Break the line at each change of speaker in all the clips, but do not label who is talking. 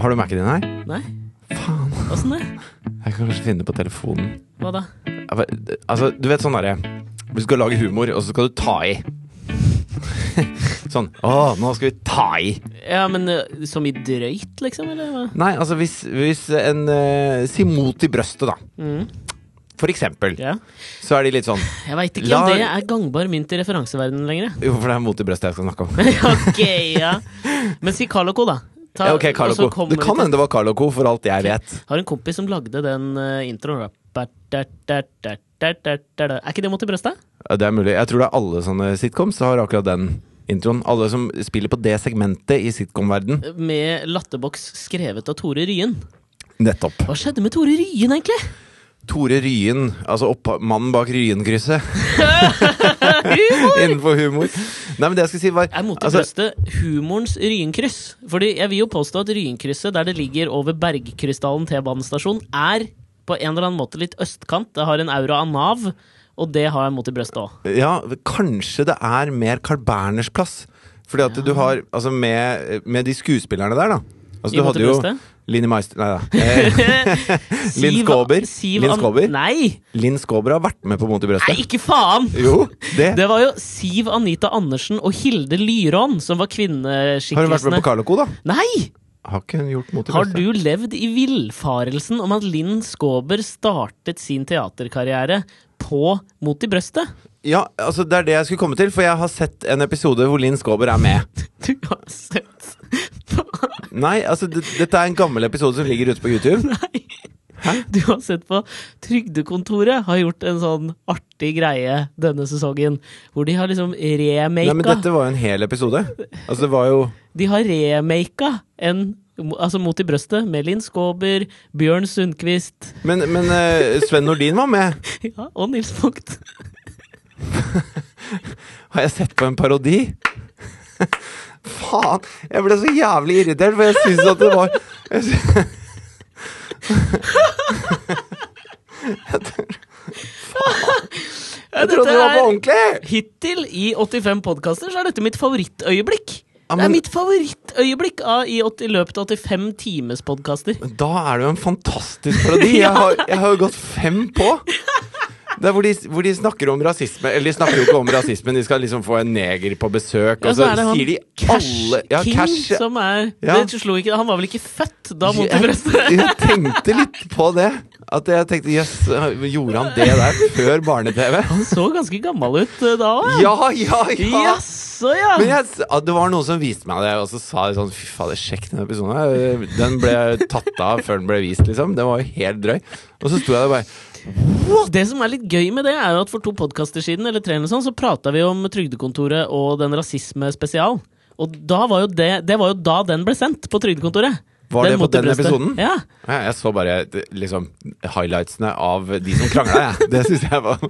Har du Mac-en din her?
Nei,
Faen.
åssen det?
Jeg kan kanskje finne det på telefonen.
Hva da?
Ja, men, Altså, du vet sånn derre Du skal lage humor, og så skal du ta i. sånn Å, nå skal vi ta i.
Ja, men eh, som i drøyt, liksom? Eller hva?
Nei, altså hvis, hvis en eh, Si mot i brøstet, da.
Mm,
For eksempel.
ja.
Så er de litt sånn
Jeg veit ikke
La-
om det er gangbar mynt i referanseverdenen lenger. jeg.
Jo, for det er mot i brøstet jeg skal snakke om.
ok, ja. Men si Carl Co, da. Ta-
Ja, ok, Carl
og så
og Co.
kommer
Det
vi
kan
til-
hende det var Carl og Co, for alt jeg vet.
Har en kompis som lagde den eh, introen. da. Da, da, da, da, da, da, da. Er ikke det mot i brøstet?
Ja, Det er mulig. Jeg tror det er alle sånne sitcoms som har akkurat den introen. Alle som spiller på det segmentet i sitcom-verden.
Med latterboks skrevet av Tore Ryen.
Nettopp.
Hva skjedde med Tore Ryen, egentlig?
Tore Ryen, altså oppha- mannen bak Ryen-krysset innenfor humor. Nei, men det jeg skal si var
Er mot i
altså,
brøstet humorens Ryenkryss? Fordi jeg vil jo påstå at Ryenkrysset, der det ligger over Bergkrystallen T-banestasjon, er på en eller annen måte litt østkant. Det har en aura av Nav, og det har jeg mot i brøstet òg.
Ja, kanskje det er mer Carl Berners plass. Fordi at du har Altså, med, med de skuespillerne der, da. Altså,
I
du
Mot i
hadde jo
brøstet?
Linni Meister Nei da. Eh, Linn Skåber? Linn Skåber?
Nei!
Linn Skåber har vært med på Mot i
Nei,
brøstet.
ikke faen!
Jo, det.
Det var jo Siv Anita Andersen og Hilde Lyrån som var kvinneskikkelsene.
Har hun vært med på Carl og Co, da?
Nei!
Har ikke hun gjort Mot i
Har
brøstet?
du levd i villfarelsen om at Linn Skåber startet sin teaterkarriere på Mot i brøstet?
Ja, altså det er det jeg skulle komme til, for jeg har sett en episode hvor Linn Skåber er med.
Du har sett
Nei, altså det, dette er en gammel episode som ligger ute på YouTube.
Nei! Du har sett på Trygdekontoret har gjort en sånn artig greie denne sesongen. Hvor de har liksom
Nei, men
remaka
dette var jo en hel episode. Altså det var jo
De har remaka en Altså Mot i brøstet med Linn Skåber, Bjørn Sundquist
Men, men eh, Sven Nordin var med.
ja, og Nils Vogt.
Har jeg sett på en parodi? Faen! Jeg ble så jævlig irritert, for jeg syns at det var jeg sy- Jeg trodde det var på ordentlig!
Hittil i 85 podkaster så er dette mitt favorittøyeblikk.
Ja,
Det
men-
er mitt favorittøyeblikk av, i, åt- i løpet av 85 times podkaster.
Men Da er det jo en fantastisk parodi. Jeg har, jeg har jo gått fem på. Det er hvor de, hvor de snakker om rasisme. Eller de snakker jo ikke om rasisme, de skal liksom få en neger på besøk. Og så, Altså, sier de alle ja,
King
cash, ja.
som er
Ja.
det slo ikke, Han var vel ikke født da mot i
Jeg-
brøstet?
Jeg tenkte litt på det. At jeg tenkte jøss, gjorde han det der før barne-TV?
Han så ganske gammel ut eh, da òg.
Ja, ja, ja!
Jaså, ja!
Men jeg, s- at det var noen som viste meg det, og så sa de sånn Fy fader, sjekk den episoden. her. Den ble tatt av før den ble vist, liksom. Den var jo helt drøy. Og så sto jeg der bare
Det som er litt gøy med det, er jo at for to podkaster siden eller tre eller sånn, så prata vi om Trygdekontoret og den rasisme spesial. Og da var jo det, det var jo da den ble sendt på Trygdekontoret.
Var det på
mot i
den
brøstet.
episoden?
Ja.
Ja, Jeg så bare d- liksom highlightsene av de som krangla, jeg. Det syns jeg var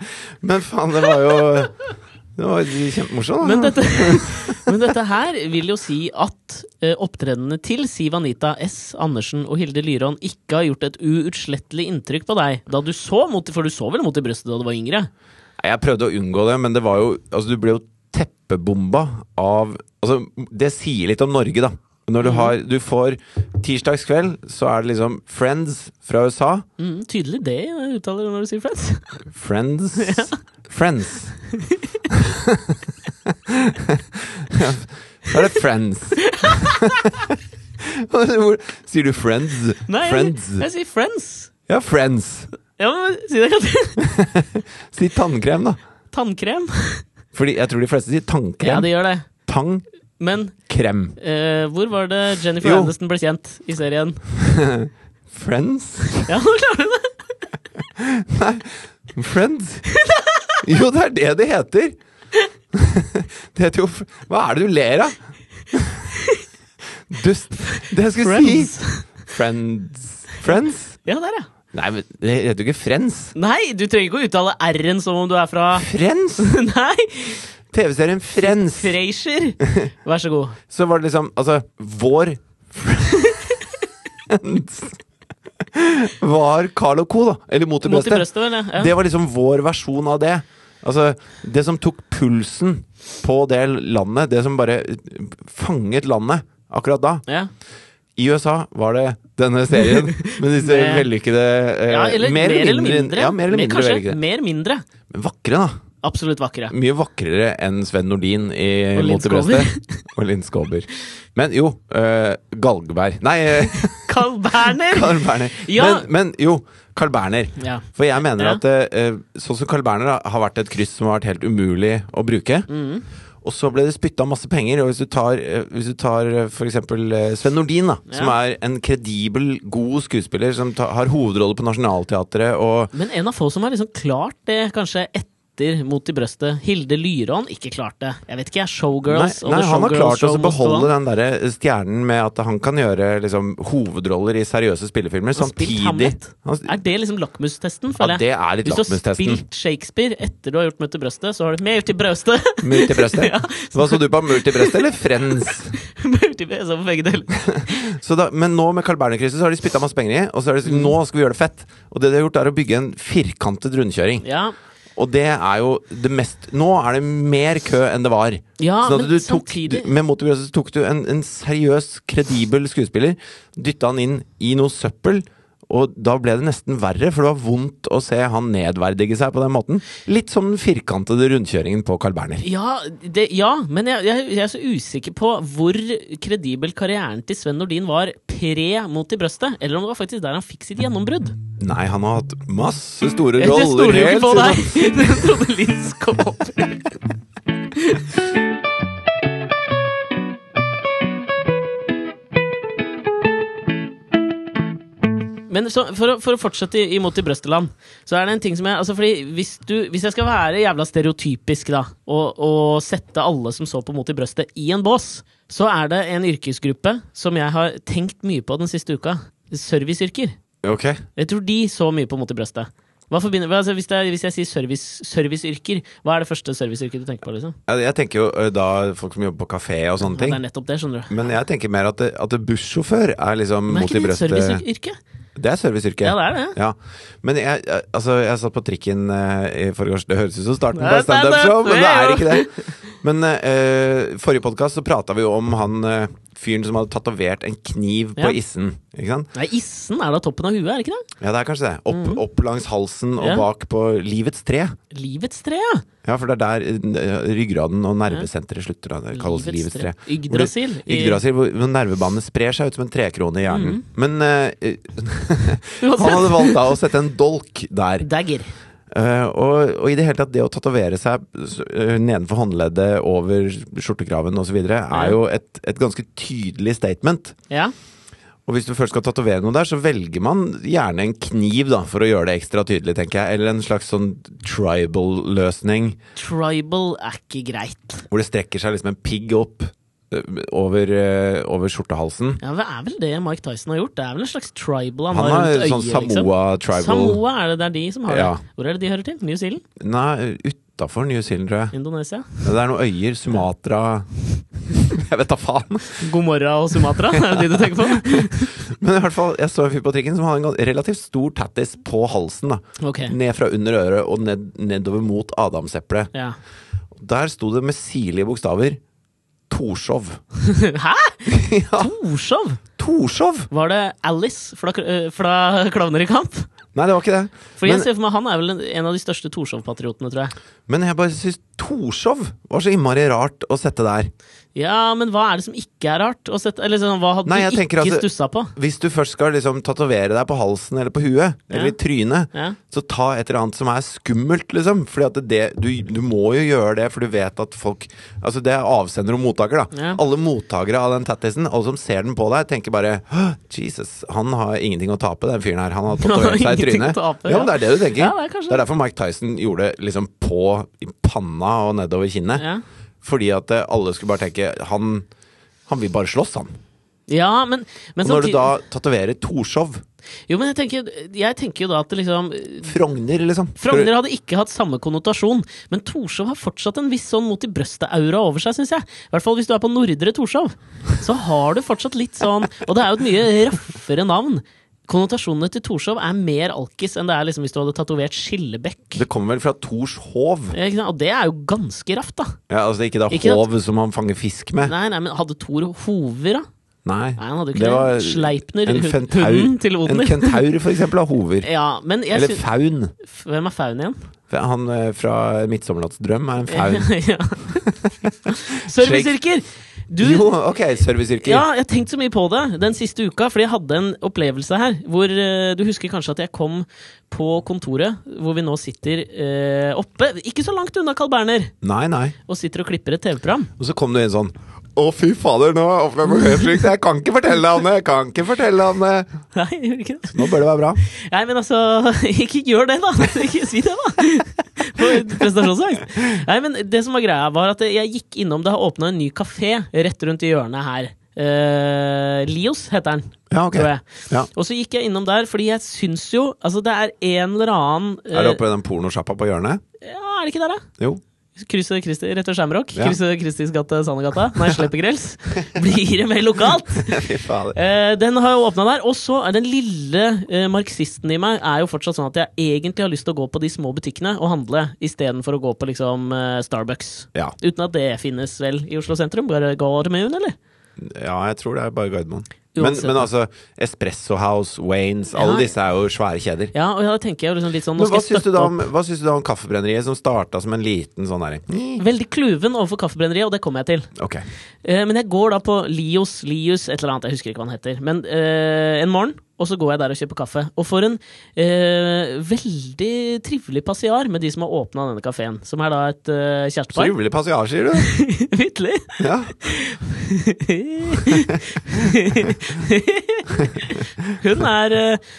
Men faen, det var jo Det var jo kjempemorsomt.
Men
da.
dette, men dette her vil jo si at eh, opptredenene til Siv Anita S. Andersen og Hilde Lyrån ikke har gjort et uutslettelig inntrykk på deg da du så mot For du så vel mot i brøstet da du var yngre?
Nei, Jeg prøvde å unngå det, men det var jo Altså, du ble jo teppebomba av Altså, det sier litt om Norge, da. Når du har Du får Tirsdagskveld, så er det liksom Friends fra USA.
Mm, tydelig det jeg uttaler når du sier Friends.
Friends Friends. Så er det Friends. Hvor- Sier du Friends?
Nei,
friends.
Jeg, jeg sier Friends.
Ja, Friends.
Ja, men si det ikke.
Si tannkrem, da.
Tannkrem.
Fordi jeg tror de fleste sier tannkrem.
Ja, det gjør det.
Tangkrem.
Men eh, hvor var det Jennifer
Jo.
Aniston ble kjent i serien?
Friends?
Ja, nå klarer du det!
Friends? Jo, det er det det heter. Det heter jo fr- Hva er det du ler av? Dust. Det jeg skulle
Friends.
si. Friends. Friends?
Ja, der, ja.
Nei, men det heter jo ikke Friends.
Nei, du trenger ikke å uttale R-en som om du er fra
Friends?
Nei!
TV-serien Friends.
Frasier. Vær så god.
Så var det liksom Altså, vår Friends var Carl og Co., da. Eller Mot i
Mot i
brøstet.
brøstet, vel? Ja.
Det var liksom vår versjon av det. Altså, det som tok pulsen på det landet, det som bare fanget landet akkurat da.
Ja.
I USA var det denne serien med disse
Med-
vellykkede eh,
Ja, eller mer, eller mindre.
Ja, mer eller mindre
kanskje
vellykkede.
mer mindre.
Men vakre, da.
Absolutt vakre.
Mye vakrere enn Sven Nordin i
Og Linn
Mot det
Skåber.
beste. Og Linn Skåber. Men jo, eh, Galgeberg Nei, eh,
Carl Berner!
Carl Berner.
Ja.
Men, men jo, Carl Berner.
Ja.
For jeg mener
Ja.
at eh, sånn som Carl Berner da, har vært et kryss som har vært helt umulig å bruke.
Mm.
Og så ble det spytta masse penger, og hvis du tar, eh, hvis du tar eh, for eksempel eh, Sven Nordin, da, som
Ja.
er en kredibel, god skuespiller som ta, har hovedrolle på Nationaltheatret og
Men en av få som har liksom klart det, kanskje etter Mot i brøstet. Hilde Lyrån ikke klarte det. Jeg vet ikke, jeg. Showgirls. og
nei,
The
han har
Showgirls
klart å
Show must go on.
beholde den der eh, stjernen med at han kan gjøre liksom, hovedroller i seriøse spillefilmer
Han har
samtidig.
spilt Hamlet.
Han,
Er det liksom lakmustesten,
ja,
føler jeg?
det er litt
Hvis du har
lakmustesten.
spilt Shakespeare etter du har gjort Møt til brøstet, så har du Mer til brøstet!
Mur til brøstet.
Ja.
Hva så du på? Mur til brøstet eller Friends?
Mer til brøstet for begge deler.
Så da, men nå med Carl Berner-krysset så har de spytta masse penger i, og så er det
Mm.
sånn, nå skal vi gjøre det fett. Og det de har gjort, er å bygge en firkantet rundkjøring.
Ja,
Og det er jo det mest Nå er det mer kø enn det var.
ja
Sånn at
men
du tok,
samtidig
du- med Motivøse tok du en, en seriøs, kredibel skuespiller, dytta han inn i noe søppel. Og da ble det nesten verre, for det var vondt å se han nedverdige seg på den måten. Litt som den firkantede rundkjøringen på Carl Berner.
Ja, det, ja men jeg, jeg, jeg er så usikker på hvor kredibel karrieren til Sven Nordin var pre mot i brøstet, eller om det var faktisk der han fikk sitt gjennombrudd.
Nei, han har hatt masse store
Det
roller.
stoler jo ikke på
helt siden-
deg! Det trodde Linn Skåber. Men så, for, å, for å fortsette i- imot i Brøsteland Så er det en ting som jeg altså fordi hvis, du, hvis jeg skal være jævla stereotypisk da og, og sette alle som så på Mot i brøstet i en bås Så er det en yrkesgruppe som jeg har tenkt mye på den siste uka Serviceyrker
Ok.
jeg tror de så mye på mot i brøstet. Hva forbinder, hva- altså hvis, det, er- hvis jeg sier service, serviceyrker, hva er det første serviceyrket du tenker på? liksom?
Ja, Jeg tenker jo ø, da folk som jobber på kafé og sånne
Ja, det
ting.
er nettopp det, skjønner du.
Men jeg tenker mer at, det- at det bussjåfør er liksom
Men er
mot
ikke
i
det et
brøstet.
serviceyrke?
Det er serviceyrket.
Ja, det er det.
Ja. Men jeg, jeg- altså, jeg satt på trikken eh, i forgårs. Det høres ut som starten på
Nei,
et standup-show,
det
men
er
det er
det.
ikke det. Men eh, forrige podkast så prata vi jo om han eh, fyren som hadde tatovert en kniv
Ja.
på issen. Ikke sant?
Nei, issen er da toppen av huet, er det ikke det?
Ja, det er kanskje det. Opp, opp langs halsen og
Mm. Ja.
bak på livets tre.
Livets tre, ja!
Ja, for det er der eh, ryggraden og nervesenteret slutter. Da. Det kalles livets tre.
Yggdrasil. i- Mm.
Yggdrasil, hvor hvor nervebanene sprer seg ut som en trekrone i hjernen. Men eh, han
Uansett.
hadde valgt da å sette en dolk der.
Dagger.
Eh, og, og i det hele tatt, det å tatovere seg eh, nedenfor håndleddet, over skjortekraven osv., er jo et, et ganske tydelig statement.
Ja.
Og hvis du først skal tatovere noe der, så velger man gjerne en kniv da, for å gjøre det ekstra tydelig, tenker jeg. Eller en slags sånn tribal-løsning,
Tribal er ikke greit.
hvor det strekker seg liksom en pigg opp eh, over, eh, over skjortehalsen.
Ja, Det er vel det Mike Tyson har gjort? Det er vel en slags tribal han,
Han
har
har
rundt øyet?
sånn
liksom.
Samoa-tribal
Samoa er det, det er de som har
Ja.
det. Hvor er det de hører til? New Zealand?
Nei, utafor New Zealand, tror jeg.
Indonesia?
Det er noen øyer. Sumatra Jeg vet da faen.
Gomorra og Sumatra, er det de du tenker på?
Men i hvert fall, jeg så en fyr på trikken som hadde en gan- relativt stor tattis på halsen. da
Ok,
Ned fra under øret og ned, nedover mot adamseplet.
ja
Der sto det med sirlige bokstaver Torshov.
Hæ?
ja,
Torshov?
Torshov!
Var det Alice fra, øh, fra Klovner i kamp?
Nei, det var ikke det.
For jeg
Men-
ser for meg Han er vel en- en av de største Torshov-patriotene, tror jeg.
Men jeg bare syns Torshov var så innmari rart å sette der.
Ja, Men hva er det som ikke er rart? Å sette, eller sånn, hva hadde
Nei,
du
jeg
ikke
tenker at-
stussa på?
Hvis du først skal liksom tatovere deg på halsen eller på huet, eller
Ja.
i trynet,
Ja.
så ta et eller annet som er skummelt, liksom. Fordi at det, du, du må jo gjøre det, for du vet at folk Altså, det er avsender og mottaker, da.
Ja.
Alle mottakere av den tattisen, alle som ser den på deg, tenker bare «Hå, Jesus, han har ingenting å tape, den fyren her. Han har
Han har
tatovert seg i
ingenting å
trynet.
tape,
ja, men det er det du tenker.
Ja, det er kanskje det.
derfor Mike Tyson gjorde det liksom på i panna og nedover kinnet.
Ja.
Fordi at eh, alle skulle bare tenke Han, han vil bare slåss, han.
Ja, men, men
Og når du
samtidig-
da tatoverer Torshov
Jo, men jeg tenker, jeg tenker jo da at det liksom
Frogner, liksom.
Frogner hadde ikke hatt samme konnotasjon, men Torshov har fortsatt en viss sånn mot i brøstet-aura over seg, syns jeg. I hvert fall hvis du er på Nordre Torshov. Så har du fortsatt litt sånn Og det er jo et mye røffere navn. Konnotasjonene til Torshov er mer alkis enn det er liksom hvis du hadde tatovert Skillebekk.
Det kommer vel fra Torshov?
Eh, Ikke sant? Og det er jo ganske raft, da.
Ja, altså det er ikke da
Ikke at-
hov som han fanger fisk med?
Nei, nei, men hadde Tor hover, da?
Nei,
Nei, han hadde
det
jo ikke det.
var
Sleipner,
en
hu-
fentaur-
hunden til
en
Odner.
kentaur for eksempel av hover.
Ja, men jeg
Eller
syns
faun.
Hvem er faun igjen?
Han eh, fra 'Midtsommernattsdrøm' er en faun.
Ja. Serviceyrker! Du,
jo, ok, serviceyrker.
Ja, jeg har tenkt så mye på det den siste uka, fordi jeg hadde en opplevelse her. Hvor eh, Du husker kanskje at jeg kom på kontoret, hvor vi nå sitter eh, oppe, ikke så langt unna Carl Berner,
Nei, nei.
og sitter og klipper et TV-program.
Og så kom du inn sånn Å, fy fader, nå opplever jeg høyfrykt. Jeg kan ikke fortelle deg om det! Jeg kan ikke fortelle deg om det!
Nei, jeg gjør ikke det.
Nå bør det være bra.
Nei, men altså Ikke gjør det, da! Ikke si det, da! På prestasjonsangst. Nei, men det som var greia, var at jeg gikk innom Det har åpna en ny kafé rett rundt i hjørnet her. Eh, Lios heter den,
Ja, ok.
tror jeg.
Ja.
Og så gikk jeg innom der, fordi jeg syns jo Altså, det er en eller annen eh,
Er det oppe i den pornosjappa på hjørnet?
Ja, er det ikke der, da?
Jo.
Krysset Kristi, rett ved Shamrock.
Ja.
Krysset Kristis gate, Sandegata. Nei, Sleppegrels. Blir det mer lokalt?
Fy fader.
Eh, den har jo åpna der. Og så er den lille eh, marxisten i meg er jo fortsatt sånn at jeg egentlig har lyst til å gå på de små butikkene og handle, istedenfor å gå på liksom eh, Starbucks.
Ja.
Uten at det finnes vel i Oslo sentrum? Bare går med hun, eller?
ja, jeg tror det er bare Gardermoen. Men,
Uansett.
men altså, Espresso House, Waynes, alle
Ja.
disse er jo svære kjeder.
Ja, og da tenker jeg jo liksom litt sånn nå
Men hva
skal
syns,
jeg
du
støtte
da
opp.
om, hva syns du da om Kaffebrenneriet, som starta som en liten sånn derre
Veldig kluven overfor Kaffebrenneriet, og det kommer jeg til.
Ok.
Eh, men jeg går da på Lios, Lius, et eller annet, jeg husker ikke hva han heter. Men eh, en morgen, og så går jeg der og kjøper kaffe. Og får en eh, veldig trivelig passiar med de som har åpna denne kafeen. Som er da et eh,
Så
kjærestepar.
jubelig passiar, sier du?
Vitterlig!
Ja.
Hun er eh,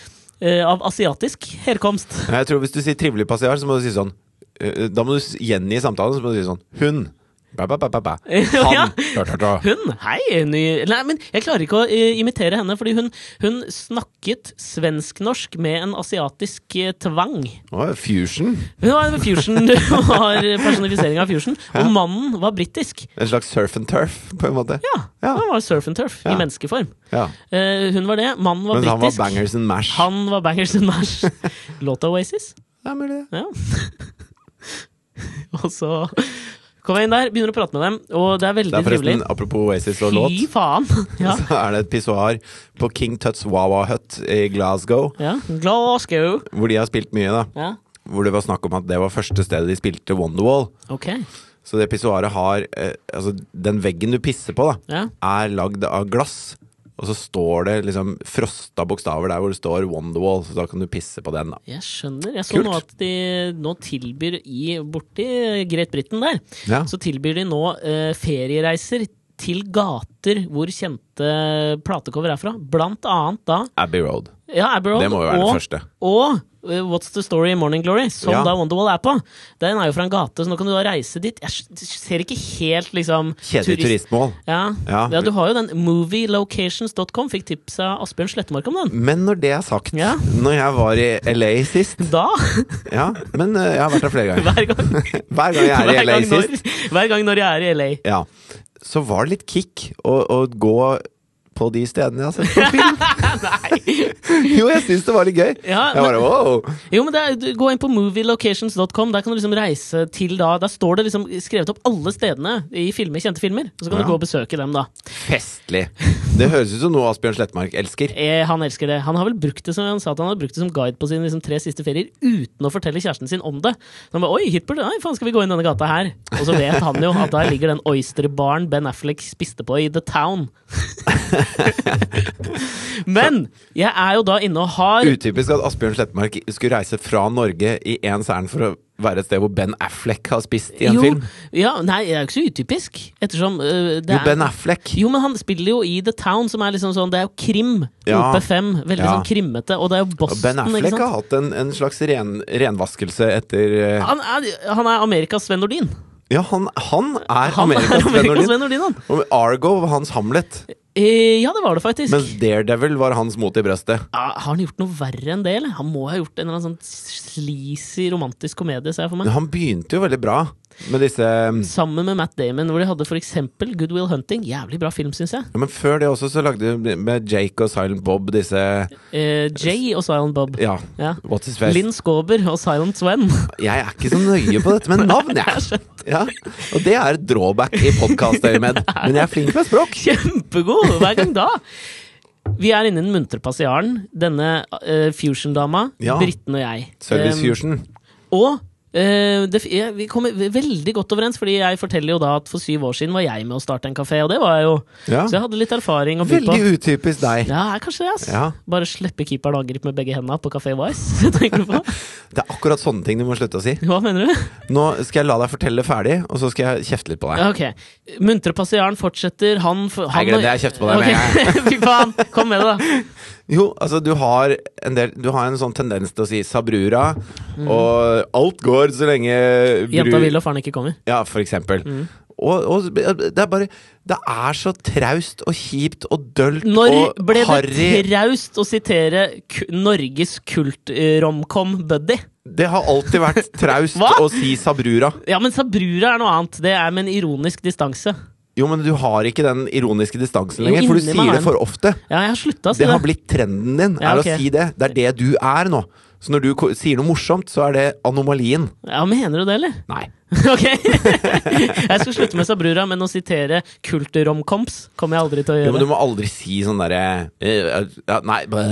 eh, av asiatisk herkomst.
Men Jeg tror Hvis du sier trivelig passiar, så må du si sånn eh, Da må du s- gjengi samtalen, så må du si sånn Hun. Ba, ba, ba, ba, ba.
Ja.
Han. Da, da, da.
Hun? Hei! Ny... Nei, men jeg klarer ikke å eh, imitere henne, fordi hun, hun snakket svensk-norsk med en asiatisk eh, tvang.
Å, fusion.
Hun var en fusion, du var personifisering av fusion. Og mannen var britisk.
En slags surf and turf, på en måte.
Ja,
Ja.
han var surf and turf
Ja.
i menneskeform.
Ja.
Eh, hun var det, mannen var
Mens han var
britisk.
bangers and mash.
Han var bangers and mash. Låta Oasis.
Ja, mulig det.
Ja. og så kommer jeg inn der, begynner å prate med dem, og det er
Det
veldig
er forresten,
trivelig.
apropos Oasis og låt,
Fy faen! Ja.
så er det et pissoar på King Tuts Wawa Hut i Glasgow,
ja. Glasgow.
hvor de har spilt mye, da.
Ja.
Hvor det var snakk om at det var første stedet de spilte Wonderwall.
Ok.
Så det pissoaret har eh, Altså, den veggen du pisser på, da,
Ja.
er lagd av glass. Og så står det liksom frosta bokstaver der hvor det står Wonderwall, så da kan du pisse på den, da.
Jeg skjønner. Jeg så
Kult.
nå at de nå tilbyr i borti Great Britain der,
Ja.
så tilbyr de nå eh, feriereiser til gater hvor kjente platecover er fra. Blant annet da
Abbey Road.
ja, Abbey Road
Det må jo være
og,
det første.
og eh, What's the Story in Morning Glory, som
Ja.
da Wonderwall er på. Den er jo fra en gate, så nå kan du da reise dit. Jeg s- ser ikke helt liksom
Kjedelig
turist-
turistmål.
Ja. Ja.
Ja.
du har jo den movielocations.com. Fikk tips av Asbjørn Slettemark om den.
Men når det er sagt,
Ja.
når jeg var i LA sist
Da,
Ja, men eh, jeg har vært der flere ganger.
hver gang
Hver gang jeg er i
hver,
LA
gang
sist,
når, hver gang når jeg er i LA.
ja, så var det litt kick å, å gå på de stedene jeg har sett på film. jo, jeg syns det var litt gøy.
Ja,
jeg bare, wow.
Jo, men det er, du- Gå inn på movielocations.com. Der kan du liksom reise til da Der står det liksom skrevet opp alle stedene i filmer, kjente filmer. Så kan
Ja.
du gå og besøke dem, da.
Festlig. Det høres ut som noe Asbjørn Slettmark elsker.
Eh, han elsker det. Han har vel brukt det som han sa at han hadde brukt det som guide på sine liksom, tre siste ferier uten å fortelle kjæresten sin om det. Så han bare, Oi, Hitler, nei, faen, skal vi gå inn denne gata her? Og så vet han jo at der ligger den oysterbaren Ben Affleck spiste på i The Town. men jeg er jo da inne og har
Utypisk at Asbjørn Slettmark skulle reise fra Norge i én særen for å være et sted hvor Ben Affleck har spist i en
jo,
film.
Ja, nei, det er jo ikke så utypisk. Ettersom øh, det
Jo, Ben
er
Affleck.
jo, men han spiller jo i The Town, som er liksom sånn Det er jo krim.
Ja.
OP5. Veldig
Ja.
sånn krimmete. Og det er jo
Og
Boston,
Ben
ikke
Affleck
sant?
har hatt en, en slags ren, renvaskelse etter eh,
Han er, han er Amerikas Sven Nordin.
Ja, han, han er
Han
Amerikas Sven
er Amerikas
Nordin.
Sven Nordin, han.
Og Argo var hans Hamlet,
Eh, ja, det var det faktisk.
mens Daredevil var hans mot i brøstet.
Ah, har han gjort noe verre enn det, eller? Han må ha gjort en eller annen sånn sleazy romantisk komedie, ser jeg for meg.
Men han begynte jo veldig bra. Med disse ja,
Sammen med Matt Damon, hvor de hadde f.eks. Good Will Hunting. Jævlig bra film, syns jeg.
Men før det også så lagde de med Jake og Silent Bob disse
Eh, Jay og Silent Bob.
Ja,
Ja.
What's His Face.
Linn Skåber og Silent Sven.
Jeg er ikke så nøye på dette med navn, jeg. Ja. Og det er et drawback i podkastøyemed. Men jeg er flink med språk.
Kjempegod! Hver gang da. Vi er inne i den muntre passiaren. Denne eh, fusion-dama.
Ja.
Britten og jeg.
Service
Eh,
Fusion.
Og eh, det, f- jeg- vi kommer ve- veldig godt overens, Fordi jeg forteller jo da at for syv år siden var jeg med å starte en kafé, og det var jeg jo.
Ja.
Så jeg hadde litt erfaring å by på.
Veldig utypisk deg.
Ja, er kanskje det, ass.
Ja.
Bare slippe keeperen og angripe med begge hendene på Café Vice. Tenker du på?
Det er akkurat sånne ting du må slutte å si.
Hva mener du?
Nå skal jeg la deg fortelle ferdig, og så skal jeg kjefte litt på deg.
Ja, ok. Muntre passiaren fortsetter. Han, for, han
Nei, glem det. Jeg kjefter på deg med en gang.
Ok. Fy faen! Kom med det, da.
Jo, altså du har en del Du har en sånn tendens til å si sabrura, og alt går så lenge bru-
Mm. Jenta vil Mm. og faren ikke kommer.
Ja, for eksempel. Og, og det er bare Det er så traust og kjipt og dølt
Når
og
ble det
harry.
traust å sitere ku Norges kult-romcom-buddy?
Det har alltid vært traust
Hva?
å si sabrura.
Ja, men Sabrura er noe annet. Det er med en ironisk distanse.
Jo, men du har ikke den ironiske distansen
Jo,
lenger, for du
inni meg
sier
har
det
jeg
for ofte.
Ja, jeg har slutta å si
Det har
det.
blitt trenden din,
Ja,
er
ok.
å si det. Det er det du er nå. Så når du ko- sier noe morsomt, så er det anomalien.
Ja, Mener du det, eller?
Nei.
Ok! Jeg skal slutte med Sabrura, men å sitere kult-romcoms kommer jeg aldri til å
Jo, men
gjøre.
du må aldri si sånn derre eh, ja, Nei, bæ.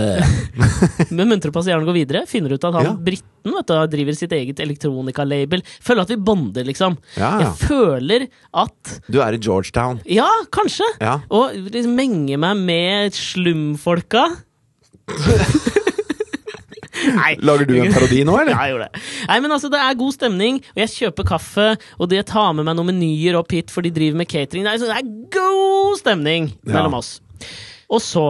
Men muntre passiaren går videre. Finner ut at han
Ja.
britten vet du, driver sitt eget elektronika-label. Føler at vi bonder, liksom.
Ja, Ah, ja.
Jeg føler at
Du er i Georgetown.
Ja, kanskje!
Ja.
Og liksom menge meg med slumfolka. Nei.
Lager du en parodi nå,
Ja,
eller?
jeg gjorde det. Nei, men altså, det er god stemning, og jeg kjøper kaffe, og de tar med meg noen menyer opp hit, for de driver med catering. Det er, så det er god stemning mellom
Ja.
oss. Og så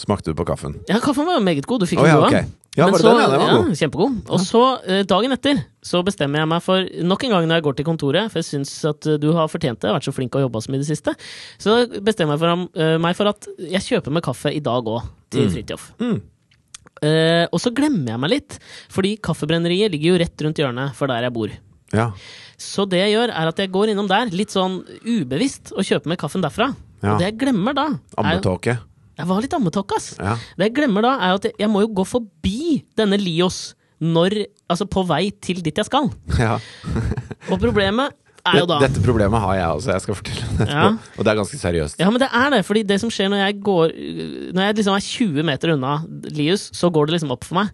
Smakte du på kaffen?
Ja, kaffen var jo meget god. Du fikk
Å,
den
ja,
gode.
ok. Ja,
Men
var det
så,
den? Ja, den var god.
Kjempegod. Og så, eh, dagen etter, så bestemmer jeg meg for Nok en gang når jeg går til kontoret, for jeg syns at eh, du har fortjent det, jeg har vært så flink og jobba som i det siste, så bestemmer jeg for, ham- eh, meg for at jeg kjøper meg kaffe i dag òg, til Fridtjof.
Mm.
Eh, og så glemmer jeg meg litt, fordi kaffebrenneriet ligger jo rett rundt hjørnet for der jeg bor.
Ja.
Så det jeg gjør, er at jeg går innom der, litt sånn ubevisst, og kjøper meg kaffen derfra.
Ja.
Og det jeg glemmer da er,
Ammetåke.
Jeg var litt ammetåke, ass.
Ja.
Det jeg glemmer da, er at jeg- jeg må jo gå forbi denne Lios når Altså på vei til dit jeg skal.
ja.
Og problemet er jo da
Dette problemet har jeg også, jeg skal fortelle om det
Ja.
etterpå. Og det er ganske seriøst.
Ja, men det er det. fordi det som skjer når jeg går Når jeg liksom er 20 meter unna Lius, så går det liksom opp for meg.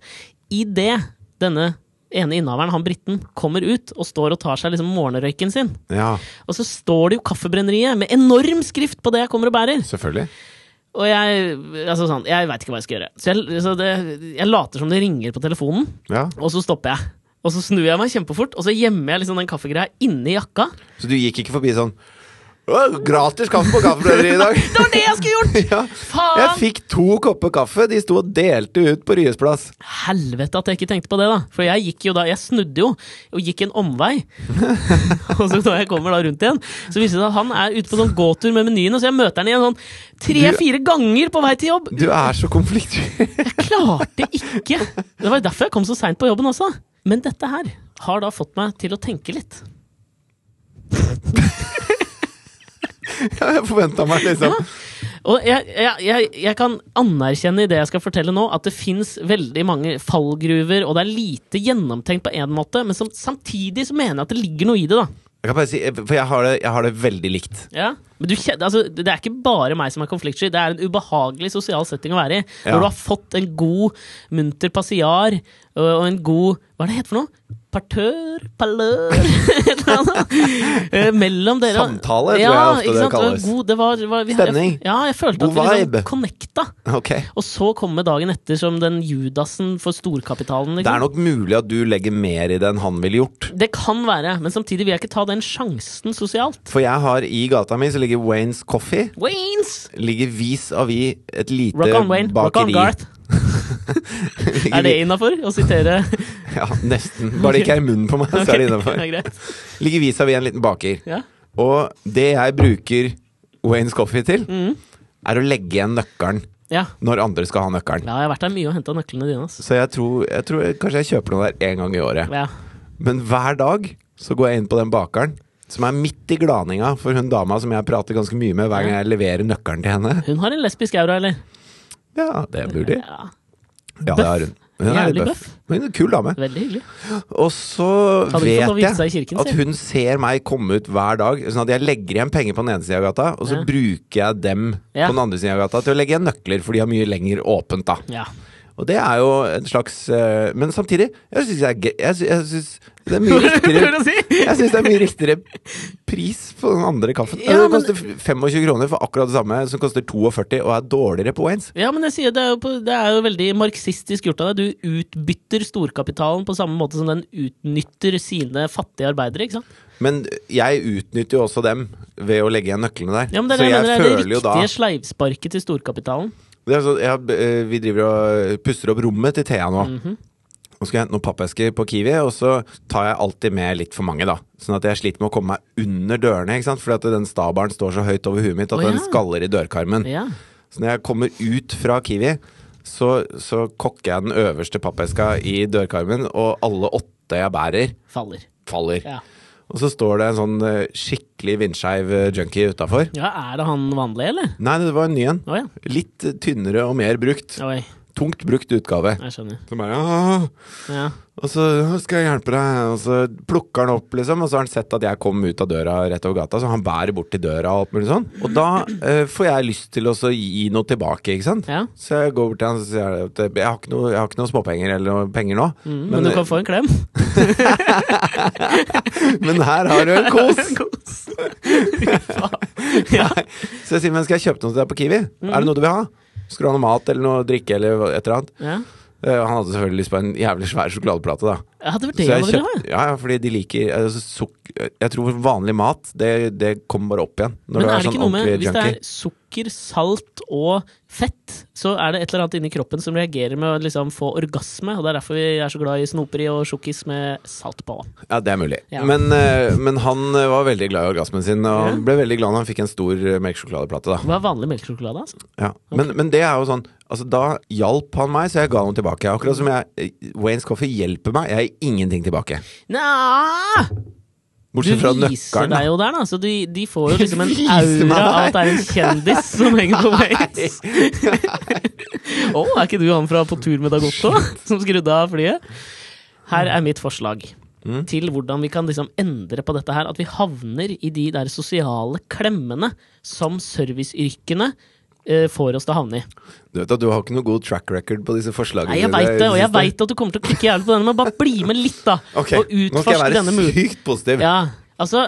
Idet denne ene innehaveren, han briten, kommer ut og står og tar seg liksom morgenrøyken sin.
Ja,
Og så står det jo Kaffebrenneriet med enorm skrift på det jeg kommer og bærer.
selvfølgelig.
Og jeg altså sånn, jeg veit ikke hva jeg skal gjøre. Så jeg, så det, jeg later som det ringer på telefonen,
Ja.
og så stopper jeg. Og så snur jeg meg kjempefort, og så gjemmer jeg liksom den kaffegreia inni jakka.
Så du gikk ikke forbi sånn «Å, Gratis kaffe på kaffebrøderiet i dag!
Det var det jeg skulle gjort!
ja. Jeg
Faen!
fikk to kopper kaffe, de sto og delte ut på Ryes plass.
Helvete at jeg ikke tenkte på det, da. For jeg gikk jo da, jeg snudde jo, og gikk en omvei. og så når jeg kommer da rundt igjen, så viser det seg at han er ute på sånn gåtur med menyene, så jeg møter han igjen sånn tre-fire ganger på vei til jobb.
Du er så konfliktsky.
Jeg klarte ikke! Det var jo derfor jeg kom så seint på jobben også. Men dette her har da fått meg til å tenke litt.
jeg forventa meg liksom
Og jeg, jeg, jeg, jeg kan anerkjenne i det jeg skal fortelle nå, at det fins veldig mange fallgruver, og det er lite gjennomtenkt på én måte, men som, samtidig så mener jeg at det ligger noe i det, da.
Jeg kan bare si, eh, For jeg har det, jeg har det veldig likt.
Ja. Men du kjenner, altså, det er ikke bare meg som er konfliktsky, det er en ubehagelig sosial setting å være i. Når
Ja.
du har fått en god, munter passiar og- og en god Hva er det heter for noe? Partør? Palør? Et eller annet. Eh, Mellom dere.
Samtale, tror jeg ofte
ikke
det
sant? var
kalles.
God, det var, var, vi-
Stemning.
Jeg, ja, jeg følte
God
at vi
vibe.
liksom connecta.
Ok
Og så kommer dagen etter som den judasen for storkapitalen.
Det
Liksom.
er nok mulig at du legger mer i det enn han ville gjort.
Det kan være, men samtidig vil jeg ikke ta den sjansen sosialt.
For jeg har i gata mi så ligger Waynes Coffee.
Waynes!
Ligger vis-à-vis et lite
Rock on, Wayne. Rock on,
bakeri.
Garth.
Ligger
Er det
vi-
innafor å sitere?
Ja, nesten. Bare det ikke er i munnen på meg, så er det
Det
innafor.
er greit.
Ligger vis-à-vis en liten baker.
Ja.
Og det jeg bruker Waynes Coffee til,
Mm.
er å legge igjen nøkkelen
ja.
når andre skal ha nøkkelen.
Ja, jeg har vært der mye og henta nøklene dine. altså. ass.
Så jeg tror, jeg tror jeg, kanskje jeg kjøper noe der én gang i året.
Ja.
Men hver dag Så går jeg inn på den bakeren, som er midt i glaninga for hun dama som jeg prater ganske mye med hver gang jeg leverer nøkkelen til henne.
Hun har en lesbisk aura, eller?
Ja, det burde de.
Ja,
Ja, det har hun. Hun er litt
Jævlig
bøff. Men hun er en kul dame.
Veldig hyggelig.
Og så
Hadde ikke fått lov
vet
å vise seg i
jeg
kirken,
at
si.
hun ser meg komme ut hver dag. Sånn at jeg legger igjen penger på den ene sida av gata, og så
Ja.
bruker jeg dem
Ja.
på den andre sida av gata til å legge igjen nøkler, for de har mye lenger åpent, da.
Ja.
Og det er jo en slags eh, Men samtidig, jeg syns jeg, jeg, sy- jeg synes det er mye riktigere
si?
jeg synes det er mye riktigere pris på den andre kaffen.
Ja,
Altså,
men-
det koster 25 kroner for akkurat det samme som koster 42 og er dårligere på Waynes.
Ja, men jeg sier det er, jo på, det er jo veldig marxistisk gjort av deg. Du utbytter storkapitalen på samme måte som den utnytter sine fattige arbeidere. ikke sant?
Men jeg utnytter jo også dem ved å legge igjen nøklene der.
Ja, men Det er
så
det jeg
jeg
mener er det
føler jo da
riktige sleivsparket til storkapitalen.
det er sånn, jeg, har- eh, Vi driver og pusser opp rommet til Thea nå.
Mhm.
Nå skal jeg hente noen pappesker på Kiwi, og så tar jeg alltid med litt for mange, da. Sånn at jeg sliter med å komme meg under dørene, ikke sant. Fordi at den stabelen står så høyt over huet mitt at
Å, ja.
den skaller i dørkarmen.
Ja.
Så når jeg kommer ut fra Kiwi, så, så kokker jeg den øverste pappeska i dørkarmen, og alle åtte jeg bærer,
Faller.
faller.
Ja.
Og så står det en sånn eh, skikkelig vindskeiv eh, junkie utafor.
ja, Er det han vanlige, eller?
Nei, det var en ny en.
Å ja.
Litt tynnere og mer brukt.
Oi,
Tungt brukt utgave.
jeg skjønner.
Så bare, «Åh,
Ja.
og så skal jeg hjelpe deg, og så plukker han opp, liksom. Og så har han sett at jeg kom ut av døra rett over gata, så han bærer bort til døra og alt mulig sånn. Og da eh, får jeg lyst til å så gi noe tilbake, ikke sant.
Ja.
Så jeg går bort til han og sier at jeg har ikke noe, jeg har ikke noe småpenger eller noe penger nå,
Mm, men,
men, eh,
du kan få en klem.
men her har du en kos.
Kos. Fy faen. ja.
Så jeg sier, men skal jeg kjøpe noe til deg på Kiwi?
Mm.
Er det noe du vil ha? Skal du ha noe mat eller noe drikke eller hva- et eller annet?
ja.
Eh, Han hadde selvfølgelig lyst på en jævlig svær sjokoladeplate, da.
Ja, det var
Så
det
jeg
han ville ha.
kjøpte- ja, ja, fordi de liker altså, sukk- Jeg tror vanlig mat, det, det kommer bare opp igjen. Når
Men
du
er
er,
det
sånn
ikke noe med
ordentlig
Hvis det
junkie.
er sukker, salt og fett, så er det et eller annet inni kroppen som reagerer med å liksom få orgasme, og det er derfor vi er så glad i snoperi og sjokkis med salt på.
Ja, det er mulig.
Ja.
Men, eh, men han eh, var veldig glad i orgasmen sin, og
Ja.
han ble veldig glad når han fikk en stor eh, melkesjokoladeplate, da.
Hva er vanlig melkesjokolade? Altså?
Ja. Men, men det er jo sånn Altså, da hjalp han meg, så jeg ga noe tilbake. Akkurat som jeg Waynes Coffee hjelper meg, jeg gir ingenting tilbake.
Nja Du
Bortsett fra
viser
nøkkelen.
deg jo der, da. Så de, de får jo liksom en
Viser meg der.
aura av at det er en kjendis som henger på Waze. Å, er ikke du han fra På tur med Dagotto som skrudde av flyet? Her er mitt forslag
Mm.
til hvordan vi kan liksom endre på dette her. At vi havner i de der sosiale klemmene som serviceyrkene eh, får oss til å havne i.
Du vet at du har ikke noe god track record på disse forslagene.
Nei, jeg
dine
veit det, og jeg
siste.
veit at du kommer til å klikke jævlig på denne, men bare bli med litt, da.
Ok, nå
Og
skal jeg
utforsk
være
denne muligheten.
sykt positiv.
Ja, altså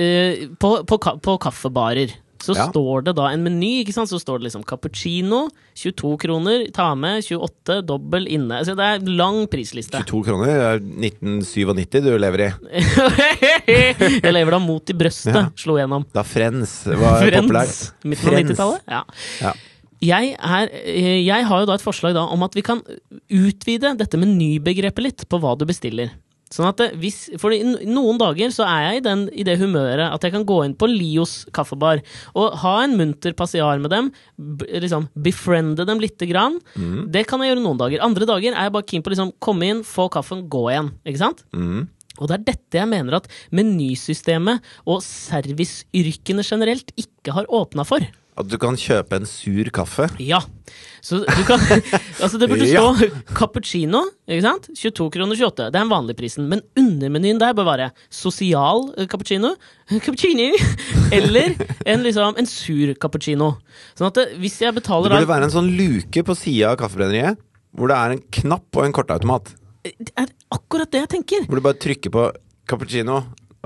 eh, på, på, ka på kaffebarer så
Ja.
står det da en meny, ikke sant? så står det liksom cappuccino, 22 kroner, ta med, 28, dobbel inne. Altså, det er en lang prisliste.
22 kroner er 1997 du lever i.
Jeg lever da mot i brøstet,
Ja.
slo gjennom.
Da Friends var populært.
Friends, midten av
Friends.
90-tallet. Ja.
Ja.
Jeg, er, eh, jeg har jo da et forslag da om at vi kan utvide dette menybegrepet litt på hva du bestiller. Sånn at eh, hvis, for i no- noen dager så er jeg i, den, i det humøret at jeg kan gå inn på Lios kaffebar og ha en munter passiar med dem, b liksom befriende dem lite grann.
Mm.
Det kan jeg gjøre noen dager. Andre dager er jeg bare keen på å liksom komme inn, få kaffen, gå igjen. Ikke sant?
Mm.
Og det er dette jeg mener at menysystemet og serviceyrkene generelt ikke har åpna for.
At du kan kjøpe en sur kaffe.
Ja. Så du kan Altså, det burde
Ja.
stå cappuccino, ikke sant? 22 kroner 28. Det er den vanlige prisen. Men undermenyen der bør være sosial eh, cappuccino, cappuccini, eller en, liksom, en sur cappuccino. Sånn at eh, hvis jeg
Det
betaler da
burde være en sånn luke på sida av kaffebrenneriet hvor det er en knapp og en kortautomat.
Det er akkurat det jeg tenker.
Hvor du bare trykker på cappuccino,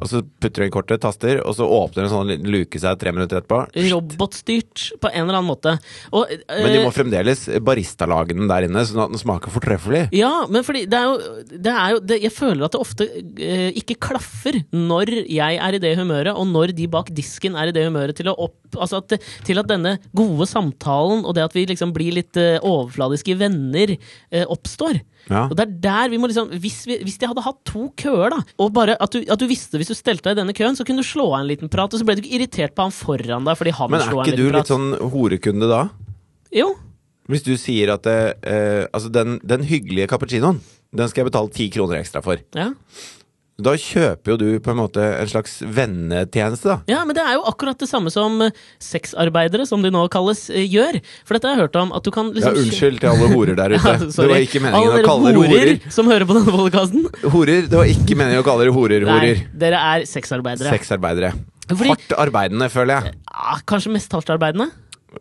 og så putter du inn kortet, taster, og så åpner en sånn liten luke seg tre minutter etterpå.
Robotstyrt på en eller annen måte. Og, eh,
Men de må fremdeles baristalage den der inne, sånn at den smaker fortreffelig.
Ja, men fordi det er jo, det er jo det, Jeg føler at det ofte eh, ikke klaffer når jeg er i det humøret, og når de bak disken er i det humøret til, å opp, altså at, det- til at denne gode samtalen og det at vi liksom blir litt eh, overfladiske venner, eh, oppstår.
Ja.
Og det er der vi må liksom hvis, vi, hvis de hadde hatt to køer, da, og bare at du, at du visste hvis du stelte deg i denne køen, så kunne du slå av en liten prat, og så ble du ikke irritert på han foran deg fordi han
Men er
slo av en
ikke du
liten
litt
prat.
sånn horekunde da?
Jo.
Hvis du sier at eh, eh, altså den, den hyggelige cappuccinoen, den skal jeg betale ti kroner ekstra for.
Ja.
Da kjøper jo du på en måte en slags vennetjeneste, da.
Ja, men det er jo akkurat det samme som eh, sexarbeidere, som de nå kalles, eh, gjør. For dette har jeg hørt om at du kan
Ja,
liksom
unnskyld til alle horer der ute. det var ikke meningen å kalle dere horer.
som hører på denne podkasten.
Horer, Det var ikke meningen å kalle dere horer,
Nei,
horer.
dere er sexarbeidere.
Sexarbeidere.
Fordi-
Hardt arbeidende, føler jeg.
Ah, kanskje mest hardtarbeidende.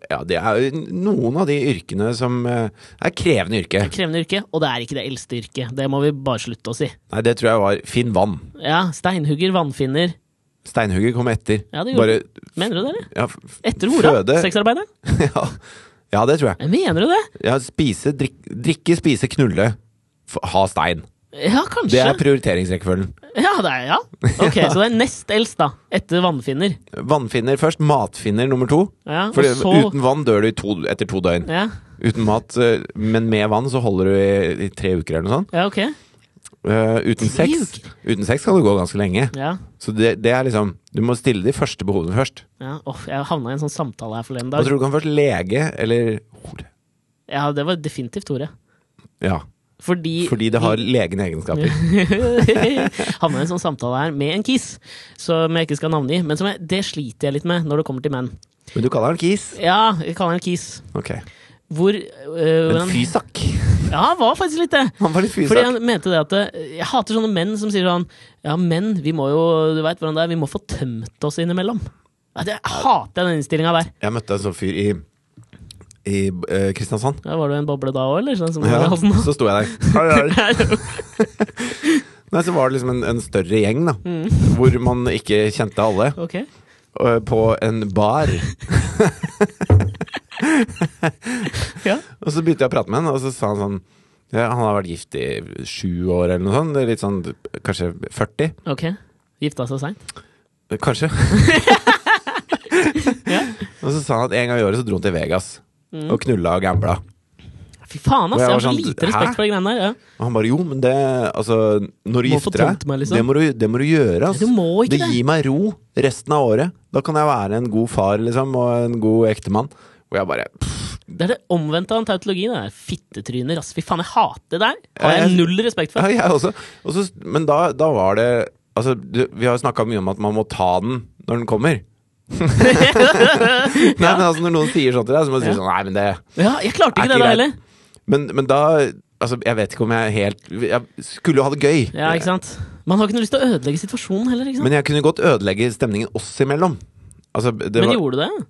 Ja, Det er jo noen av de yrkene som eh, er krevende yrke.
Krevende yrke. Og det er ikke det eldste yrket. Det må vi bare slutte å si.
Nei, det tror jeg var Finn vann.
Ja, Steinhugger, vannfinner.
Steinhugger kom etter.
Ja, det
Bare
gjorde Mener du det, eller?
ja, f-
Etter hora?
Føde.
Sexarbeideren?
ja. ja, det tror jeg.
Mener du det?
Ja, spise, drikk, drikke, spise, knulle. F ha stein.
Ja, kanskje.
Det er prioriteringsrekkefølgen.
Ja, det er, ja. Ok, Så det er nest eldst, da. Etter vannfinner.
Vannfinner først, matfinner nummer to.
Ja, og
Fordi
så
Uten vann dør du i to, etter to døgn.
ja.
Uten mat, eh, men med vann så holder du i, i tre uker eller noe sånt.
ja, ok.
Eh, uten,
Tre
sex, uten sex kan du gå ganske lenge.
Ja.
Så det, det er liksom Du må stille de første behovene først.
ja. Åh, jeg havna i en sånn samtale her forleden
Hva
dag.
tror du kan først? Lege eller hore?
Ja, det var definitivt ordet.
Ja,
Fordi,
fordi det har legende egenskaper.
Havna i en sånn samtale her med en kis, som jeg ikke skal navngi. Men som jeg, det sliter jeg litt med når det kommer til menn.
Men du kaller den kis.
Ja, jeg kaller han kis.
Ok.
Hvor øh,
Men
han-
fysak.
Ja, han var faktisk litt det.
Han var litt
Fordi
fysak.
han mente det at eh, Jeg hater sånne menn som sier sånn Ja, menn, vi må jo Du vet hvordan det er, vi må få tømt oss innimellom. Ja, det hater jeg den innstillinga der.
Jeg møtte en sånn fyr i, i eh, Kristiansand.
Ja, var du i en boble da òg, eller? Sånn som
Ja,
ja. halsen,
så sto jeg der. Hei, hei.
da?
Nei, så var det liksom en, en større gjeng, da.
Mm.
Hvor man ikke kjente alle.
ok.
eh, På en bar.
Ja.
Og så begynte jeg å prate med han, og så sa han sånn ja, Han har vært gift i sju år eller noe sånt. det er Litt sånn kanskje 40.
ok. Gifta seg seint?
Kanskje.
Ja. Mm.
Og så sa han at en gang i året så dro han til Vegas og knulla og gambla.
Fy faen, ass!
Og jeg
Jeg
var
har så
sånn,
lite respekt
hæ?
for de greiene der. Ja.
Og han bare jo, men det Altså, når du
Må få
gifter deg,
tømt meg, liksom.
det, må du, det må du gjøre. ass.
Du må ikke
det
det.
gir meg ro resten av året. Da kan jeg være en god far, liksom, og en god ektemann. Og jeg bare pff,
Det er det omvendte av en tautologi. Det er fittetryner, ass. Fy faen, jeg hater det der! Har
Ja,
jeg
jeg-
null respekt
ja,
for.
jeg også. Og så, men da, da var det Altså, du, vi har jo snakka mye om at man må ta den når den kommer.
ja,
Nei, men altså Når noen sier sånn til deg, så må du si
Ja.
sånn Nei, men det
jeg klarte
Er ikke
ikke det da
greit.
heller.
Men, men da Altså, jeg vet ikke om jeg helt Jeg skulle jo ha det gøy.
Ja, ikke sant? Man har ikke noe lyst til å ødelegge situasjonen heller, ikke sant?
Men jeg kunne godt ødelegge stemningen oss imellom. Altså, det
Men,
var,
gjorde du det?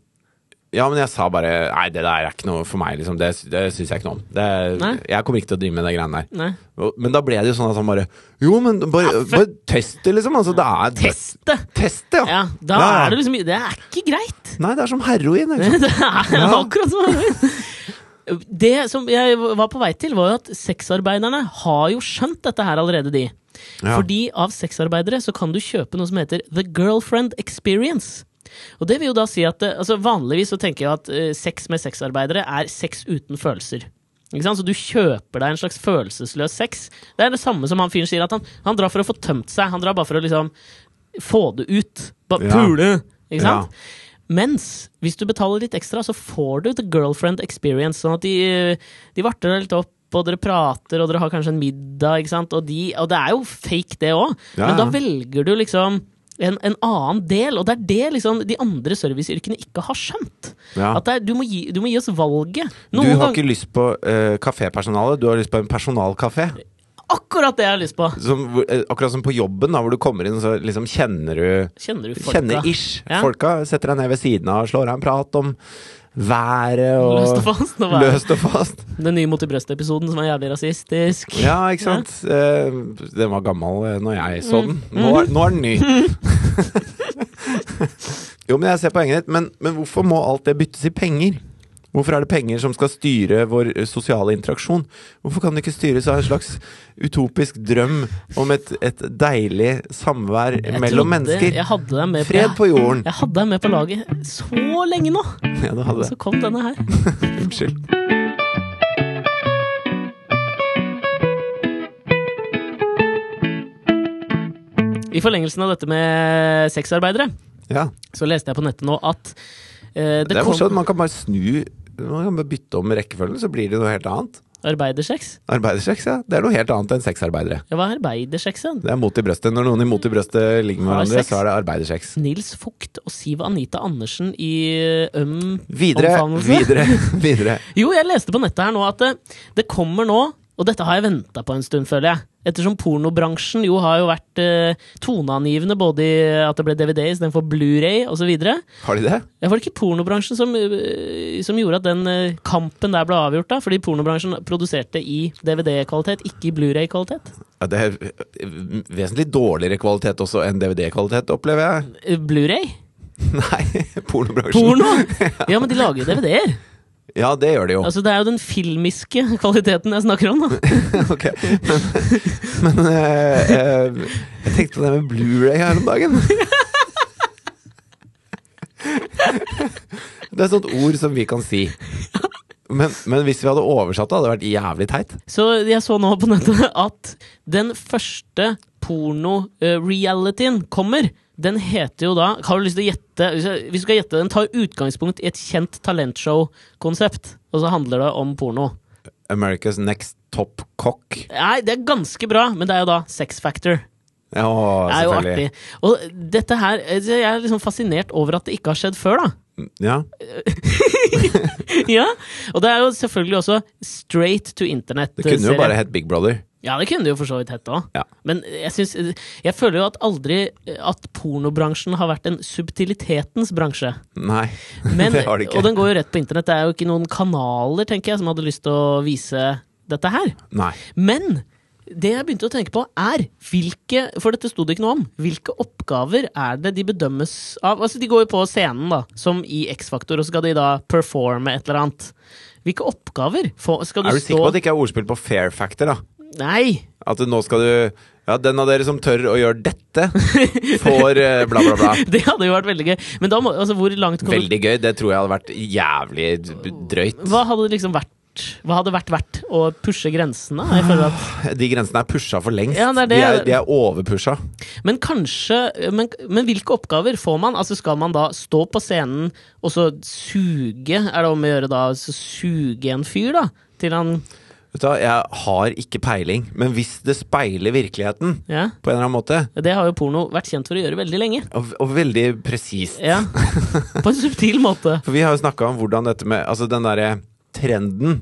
ja, men jeg sa bare Nei, det der er ikke noe for meg, liksom. Det, det syns jeg ikke noe om. Det,
Nei.
jeg kommer ikke til å drive med de greiene der.
Nei.
Og- Men da ble det jo sånn at han bare Jo, men bare, bare test det, liksom. Altså, det er
Teste!
Test det, ja.
Ja, da
Ja.
er det liksom Det er ikke greit!
Nei, det er som heroin. Ikke sant?
Det er
Ja.
akkurat som Det som jeg var på vei til, var jo at sexarbeiderne har jo skjønt dette her allerede, de.
Ja.
Fordi av sexarbeidere så kan du kjøpe noe som heter The Girlfriend Experience. Og det vil jo da si at eh, altså Vanligvis så tenker jeg at eh, sex med sexarbeidere er sex uten følelser. Ikke sant? Så du kjøper deg en slags følelsesløs sex. Det er det samme som han fyren sier, at han, han drar for å få tømt seg. Han drar bare for å liksom få det ut. Ba,
Ja.
Pule! Ikke
Ja.
sant? Mens hvis du betaler litt ekstra, så får du the girlfriend experience. Sånn at de, de varter deg litt opp, og dere prater, og dere har kanskje en middag. Ikke sant? Og, de, og det er jo fake, det òg,
Ja,
men da
ja.
velger du liksom en, en annen del, og det er det liksom de andre serviceyrkene ikke har skjønt.
Ja.
At det er, du, må gi, du må gi oss valget.
Du
Noen
har
ganger
ikke lyst på uh, kafépersonale, du har lyst på en personalkafé.
Akkurat det jeg har lyst på!
Som, hvor- eh, akkurat som på jobben, da, hvor du kommer inn, så liksom kjenner du
Kjenner du folka?
Kjenner ish
Ja.
folka. Setter deg ned ved siden av, slår deg en prat om været og
Løst og fast. Nå var
Løst og fast.
Den nye Mot i brøstet-episoden som er jævlig rasistisk.
Ja, ikke sant. Eh, den var gammel eh, når jeg
Mm.
så den. Nå er, nå er den ny. jo, men jeg ser poenget ditt. Men, men hvorfor må alt det byttes i penger? Hvorfor er det penger som skal styre vår eh, sosiale interaksjon? Hvorfor kan det ikke styres av en slags utopisk drøm om et, et deilig samvær
Jeg
mellom
trodde
mennesker?
Jeg hadde deg med
Fred på jorden.
Jeg hadde deg med på laget så lenge nå,
Ja, du hadde
så
det.
kom denne her.
Unnskyld.
I forlengelsen av dette med sexarbeidere,
Ja.
så leste jeg på nettet nå at eh, det,
Det er
kom,
morsomt, man kan bare snu Man kan bare bytte om rekkefølgen, så blir det noe helt annet.
Arbeidersex?
Arbeidersex, ja. Det er noe helt annet enn sexarbeidere.
Ja, hva er arbeidersex igjen?
Det er mot i brøstet. Når noen i mot i brøstet ligger med
Har
hverandre,
sex.
så er det arbeidersex.
Nils Fugt og Siv Anita Andersen i eh, Øm
Videre,
omfavnelse?
videre, videre.
Jo, jeg leste på nettet her nå at det, det kommer nå, og dette har jeg venta på en stund, føler jeg. Ettersom pornobransjen jo har jo vært eh, toneangivende både i at det ble DVD istedenfor Blu-ray osv. Ja,
Har de det?
var det ikke pornobransjen som, eh, som gjorde at den eh, kampen der ble avgjort, da? Fordi pornobransjen produserte i DVD-kvalitet, ikke i Blu-ray-kvalitet.
Ja, det er vesentlig dårligere kvalitet også enn DVD-kvalitet, opplever jeg.
Eh, Blu-ray?
Nei, pornobransjen.
Porno! Ja, men de lager jo DVD-er.
Ja, det gjør det jo.
Altså, det er jo den filmiske kvaliteten jeg snakker om, da.
Ok. Men, men eh, eh, jeg tenkte på det med Blu-ray her om dagen. Det er et sånt ord som vi kan si. Men, men hvis vi hadde oversatt det, hadde det vært jævlig teit.
Så jeg så nå på nettet at den første porno-realityen kommer. Den heter jo da Har du lyst til å gjette? Hvis jeg- Hvis du skal gjette, den tar utgangspunkt i et kjent talentshow-konsept. Og så handler det om porno.
America's Next Top Cock.
Nei, det er ganske bra, men det er jo da Sex Factor.
Ja,
Det er jo
selvfølgelig.
artig. Og dette her Jeg er liksom fascinert over at det ikke har skjedd før, da.
Ja.
Ja, Og det er jo selvfølgelig også straight to internet.
Det kunne jo bare hett Big Brother.
Ja, det kunne det jo for så vidt hett òg.
Ja.
Men jeg, syns, jeg føler jo at aldri eh, at pornobransjen har vært en subtilitetens bransje.
Nei,
Men,
det har det
Og
ikke.
den går jo rett på internett. Det er jo ikke noen kanaler tenker jeg, som hadde lyst til å vise dette her.
Nei.
Men det jeg begynte å tenke på, er hvilke For dette sto det ikke noe om. Hvilke oppgaver er det de bedømmes av? Altså, de går jo på scenen, da, som i X-Faktor, og så skal de da performe et eller annet. Hvilke oppgaver? Får- skal du,
Er du
stå
sikker på at det ikke er ordspill på fair factor, da?
Nei!
At nå skal du Ja, den av dere som tør å gjøre dette, får eh, bla, bla, bla.
Det hadde jo vært veldig gøy. Men da må, altså, hvor langt kom
Veldig gøy. Det tror jeg hadde vært jævlig d- drøyt.
du Hva hadde det liksom vært? Hva hadde vært verdt å pushe grensene? Jeg føler at,
De grensene er pusha for lengst.
Ja, det er
De, er,
det.
de er overpusha.
men kanskje men, men hvilke oppgaver får man? Altså Skal man da stå på scenen og så suge Er det om å gjøre da så suge en fyr, da? Til han
Vet du hva, jeg har ikke peiling, men hvis det speiler virkeligheten
Ja.
på en eller annen måte,
Det har jo porno vært kjent for å gjøre veldig lenge.
og, og veldig presist
Ja. På en subtil måte.
For vi har jo snakka om hvordan dette med Altså den derre trenden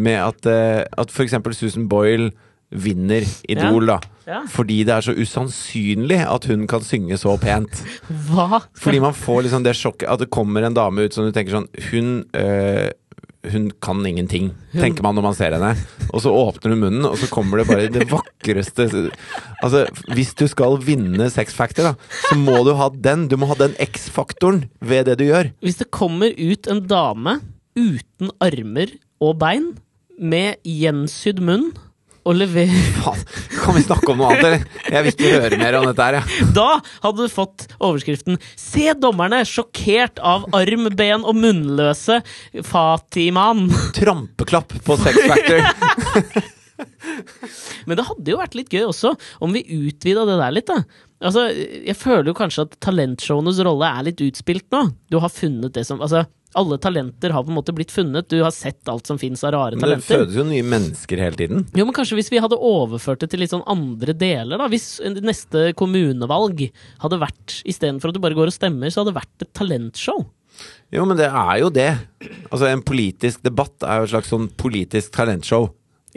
med at, eh, at for eksempel Susan Boyle vinner Idol, da.
Ja.
Fordi det er så usannsynlig at hun kan synge så pent.
Hva?
Fordi man får liksom det sjokket at det kommer en dame ut som du tenker sånn Hun øh, hun kan ingenting, tenker man når man ser henne. Og så åpner hun munnen, og så kommer det bare det vakreste Altså, hvis du skal vinne Sex Factor, da, så må du ha den. Du må ha den X-faktoren ved det du gjør.
Hvis det kommer ut en dame uten armer og bein, med gjensydd munn, og leverer
Faen, kan vi snakke om noe annet, eller? Jeg vil ikke høre mer om dette her, jeg.
Da hadde du fått overskriften 'Se dommerne sjokkert av arm, ben og munnløse Fatiman'.
Trampeklapp på Sex Factor.
Men det hadde jo vært litt gøy også om vi utvida det der litt, da. Altså, jeg føler jo kanskje at talentshowenes rolle er litt utspilt nå. Du har funnet det som Altså, alle talenter har på en måte blitt funnet. Du har sett alt som fins av rare
Men det
talenter.
fødes jo nye mennesker hele tiden.
Jo, men Kanskje hvis vi hadde overført det til litt sånn andre deler, da. Hvis neste kommunevalg hadde vært Istedenfor at du bare går og stemmer, så hadde det vært et talentshow.
Jo, men det er jo det. Altså, en politisk debatt er jo et slags sånn politisk talentshow.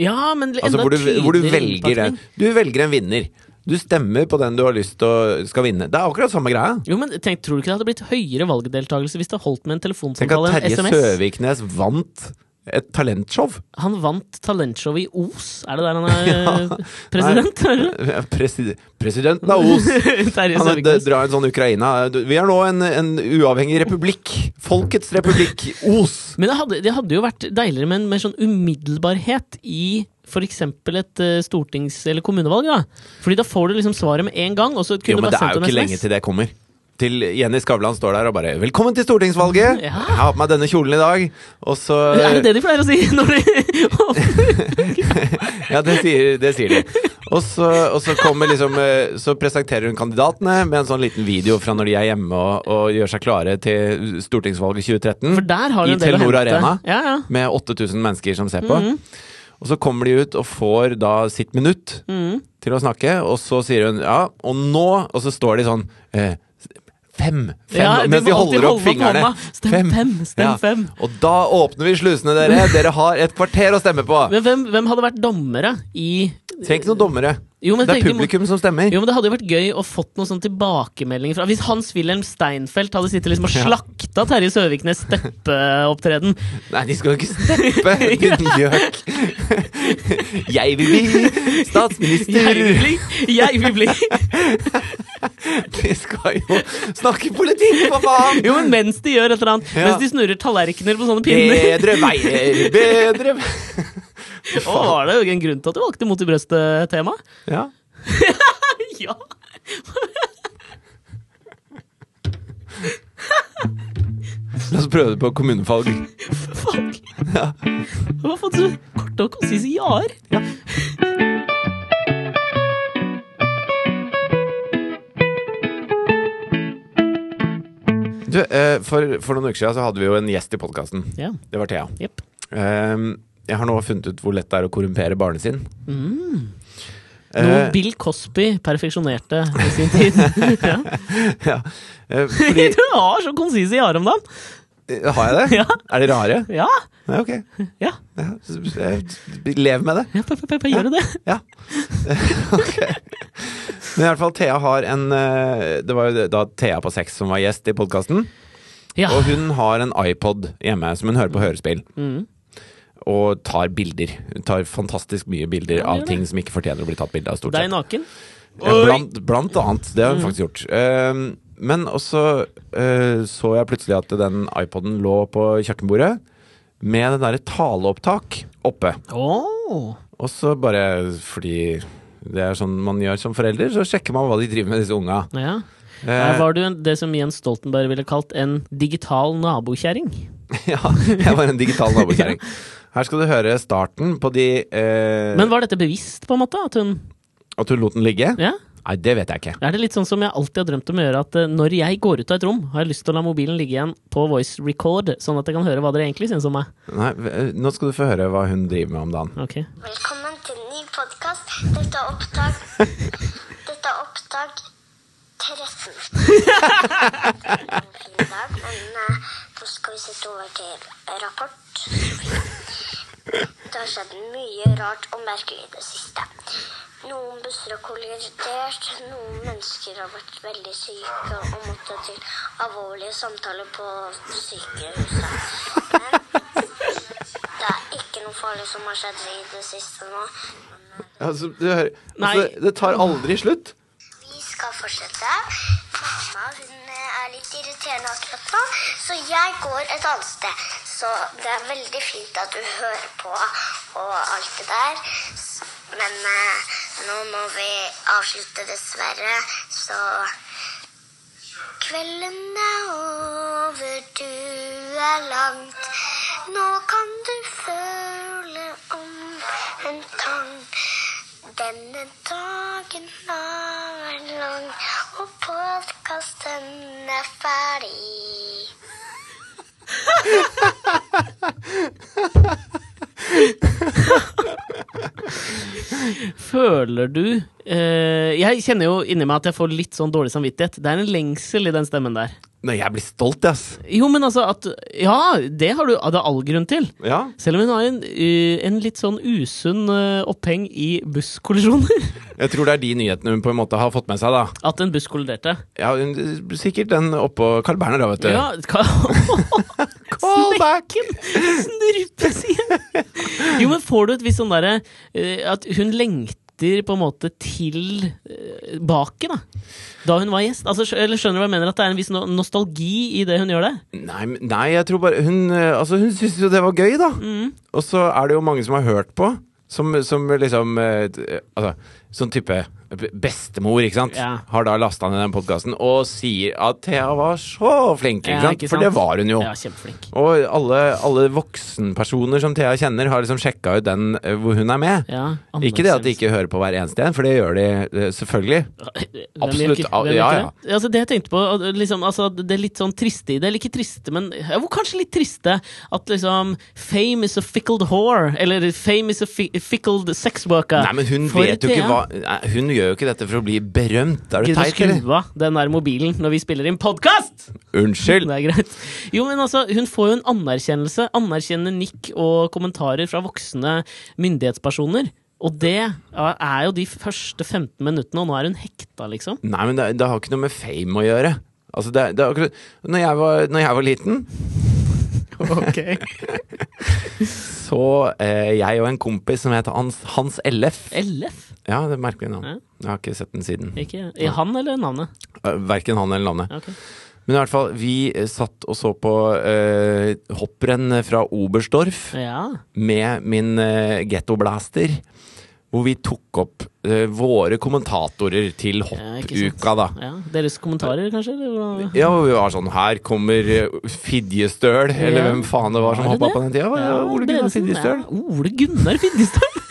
Ja, men enda
Altså, hvor, du, hvor du
tydeligere
velger den.
innpakning.
Du velger en vinner. Du stemmer på den du har lyst til å skal vinne. Det er akkurat samme greia.
Jo, men tenk, Tror du ikke det hadde blitt høyere valgdeltakelse hvis det holdt med en
Tenk at
telefonsamtale enn
Terje
SMS?
Søviknes vant et talentshow.
Han vant talentshowet i Os. Er det der han er president? Mm.
Presi presidenten av Os.
Terje
Han d-
Søviknes.
drar en sånn Ukraina Du- Vi er nå en, en uavhengig republikk. Folkets republikk Os.
Men det hadde, det hadde jo vært deiligere med en mer sånn umiddelbarhet i f.eks. et eh, stortings- eller kommunevalg. da. Fordi da får du liksom svaret med en gang. og så kunne
Jo,
du
men det
bare
er
sendt
jo
en
ikke lenge
SMS.
til det kommer. Til Jenny Skavlan står der og bare 'Velkommen til stortingsvalget'.
Ja.
'Jeg har på meg denne kjolen i dag', og så
Er det det de pleier å si? Når de,
Ja, det sier, det sier de. Og så, og så kommer liksom eh, Så presenterer hun kandidatene med en sånn liten video fra når de er hjemme og, og gjør seg klare til stortingsvalget
for
2013.
der har du
I
en del å
Telenor
hente.
Arena.
Ja, ja. Mm.
Med 8000 mennesker som ser på. Og så kommer de ut og får da sitt minutt
Mm.
til å snakke, og så sier hun ja, og nå Og så står de sånn eh, Fem! fem
Ja,
mens
vi
de
må
holder
alltid
opp
holde opp
fingrene.
hånda. Stem fem, stem fem.
Og da åpner vi slusene, dere! Dere har et kvarter å stemme på!
Men hvem, hvem hadde vært dommere i
Trenger ikke noen dommere.
Jo, men
Det er
tenk-
publikum som stemmer.
Jo, men Det hadde jo vært gøy å fått noen sånne tilbakemeldinger fra Hvis Hans-Wilhelm Steinfeld hadde sittet liksom og
Ja.
slakta Terje Søviknes steppeopptreden
Nei, de skal jo ikke steppe, din gjøk! Jeg vil bli
Jeg vil
statsminister!
bli! Jeg vil bli.
De skal jo snakke politikk, for faen!
Jo, men mens de gjør et eller annet.
Ja. Eh,
Mens de snurrer tallerkener på sånne pinner.
Bedre veier, bedre
Å, var det jo en grunn til at du valgte Mot i brøstet-tema?
Ja.
Ja.
La oss prøve det på kommunefag.
Fuck. Du har fått så korte og konsise ja-er.
Du, eh, for, for noen uker siden så hadde vi jo en gjest i podkasten.
Ja.
Det var Thea.
Jepp.
Ehm, jeg har nå funnet ut hvor lett det er å korrumpere barnet sin.
Mm. Noe
Eh,
Bill Cosby perfeksjonerte i sin tid. ja.
ja. Eh, fordi,
Du har så konsise ja-er om dagen.
eh, har jeg det?
Ja.
Er de rare?
Ja.
Ja, ok.
ja.
Ja, s- s- eh, lev med det.
Ja, p- p- p- gjør det det?
Ja. ok. Men i hvert fall, Thea har en eh, Det var jo da Thea på seks som var gjest i podkasten.
Ja.
Og hun har en iPod hjemme som hun hører på hørespill. Og tar bilder. Hun tar fantastisk mye bilder
Ja,
av
det gjør
ting som ikke fortjener å bli tatt bilde av. stort
Deg
sett.
naken?
Ja, blant, blant annet. Det
Mm.
har hun faktisk gjort. Ehm, men også eh, så jeg plutselig at den iPoden lå på kjøkkenbordet med det derre taleopptak oppe.
Åh.
Og så bare fordi det er sånn man gjør som forelder, så sjekker man hva de driver med, disse unga.
Ja.
Eh,
Der var du en, det som Jens Stoltenberg ville kalt en digital nabokjerring.
ja, jeg var en digital nabokjerring. Her skal du høre starten på de eh,
Men var dette bevisst, på en måte? At hun
At hun lot den ligge?
Ja?
Nei, det vet jeg ikke.
Er det litt sånn som jeg alltid har drømt om å gjøre, at eh, når jeg går ut av et rom, har jeg lyst til å la mobilen ligge igjen på voice record, sånn at jeg kan høre hva dere egentlig syns om meg?
Nei, v- eh, nå skal du få høre hva hun driver med om dagen.
Ok.
Velkommen til ny podkast. Dette er opptak Dette er opptak 13. En fin dag, men eh, nå skal vi sette over til rapport. Det har skjedd mye rart og merkelig i det siste. Noen busser har kollidert, noen mennesker har blitt veldig syke og måtte til alvorlige samtaler på sykehuset. Men det er ikke noe farlig som har skjedd i det siste nå. Men eh,
Altså, du hører,
Nei.
altså, det tar aldri slutt.
vi skal fortsette. Mamma hun eh, er litt irriterende akkurat nå, så jeg går et annet sted. Så det er veldig fint at du hører på og alt det der. S- Men eh, nå må vi avslutte, dessverre. Så Kvelden er over, du er langt. Nå kan du føle om en tang. Denne dagen er lang, og podkasten er ferdig.
Føler du eh, Jeg kjenner jo inni meg at jeg får litt sånn dårlig samvittighet. Det er en lengsel i den stemmen der.
Nei, jeg blir stolt, ass.
Jo, men altså at Ja, det har du det er all grunn til.
Ja.
Selv om hun har en, eh, en litt sånn usunn eh, oppheng i busskollisjoner.
Jeg tror det er de nyhetene hun på en måte har fått med seg, da.
At en buss kolliderte.
Ja, hun, eh, sikkert den oppå Carl Berner, da, vet du.
Ja, hva
Callback!
Snurpes igjen! Jo, men får du et visst sånn derre eh, At hun lengter på en måte til eh, baket, da. Da hun var gjest. Altså, skjø- eller skjønner du hva jeg mener? At det er en viss no- nostalgi i det hun gjør det?
Nei, men- nei, jeg tror bare Hun, eh, altså, hun syntes jo det var gøy,
Mm.
da. Og så er det jo mange som har hørt på, som, som liksom eh, t- eh, Altså, sånn type b- bestemor, ikke sant,
Ja.
har da lasta ned den podkasten og sier at Thea var så flink, ikke
Ja,
sant?
ikke
For
sant?
det var hun jo.
Ja, kjempeflink.
Og alle, alle voksenpersoner som Thea kjenner, har liksom sjekka ut den eh, hvor hun er med.
Ja,
Ikke det at de ikke hører på hver eneste en, for det gjør de eh, selvfølgelig. Absolutt,
Absolutt. Hvem gjør
ja,
ikke
ja.
det? Altså, det jeg tenkte på, at liksom, altså, det er litt sånn triste i det. Eller ikke triste, men ja, hvor kanskje litt triste. At liksom Fame is a fickled whore. Eller fame is a fi fickled sex worker.
Nei, men hun
For
vet jo
det
ikke
er-
hva nei, Hun gjør jo ikke dette for å bli berømt. Er du
Gidder å
teit, eller?
skru av den der mobilen når vi spiller inn podkast!
Unnskyld!
Det er greit. Jo, men altså, hun får jo en anerkjennelse. Anerkjennende nikk og kommentarer fra voksne myndighetspersoner. Og det ja, er jo de første 15 minuttene, og nå er hun hekta, liksom.
Nei, men det, det har ikke noe med fame å gjøre. Altså, det, er- det er akkurat når jeg, var, når jeg var liten, så eh, jeg og en kompis som het Hans, Hans LF
LF?
Ja, det er et merkelig navn.
Ja.
Jeg har ikke sett den siden.
Ikke i han eller navnet?
Eh, Verken han eller landet.
Ok.
Men i hvert fall, vi eh, satt og så på eh, hopprenn fra Oberstdorf.
Ja.
med min uh, gettoblaster, hvor vi tok opp eh, våre kommentatorer til
ja ikke
hoppuka,
sant.
da.
Ja. Deres kommentarer, kanskje? Eller? hvordan-
Ja, og vi var sånn Her kommer eh, Fidjestøl, eller
Ja.
hvem faen det var som
Var det
hoppa
det?
på den tida. Ja, Ole Gunnar
Bedesen,
Fidjestøl.
Ja. Ole Gunnar Fidjestøl?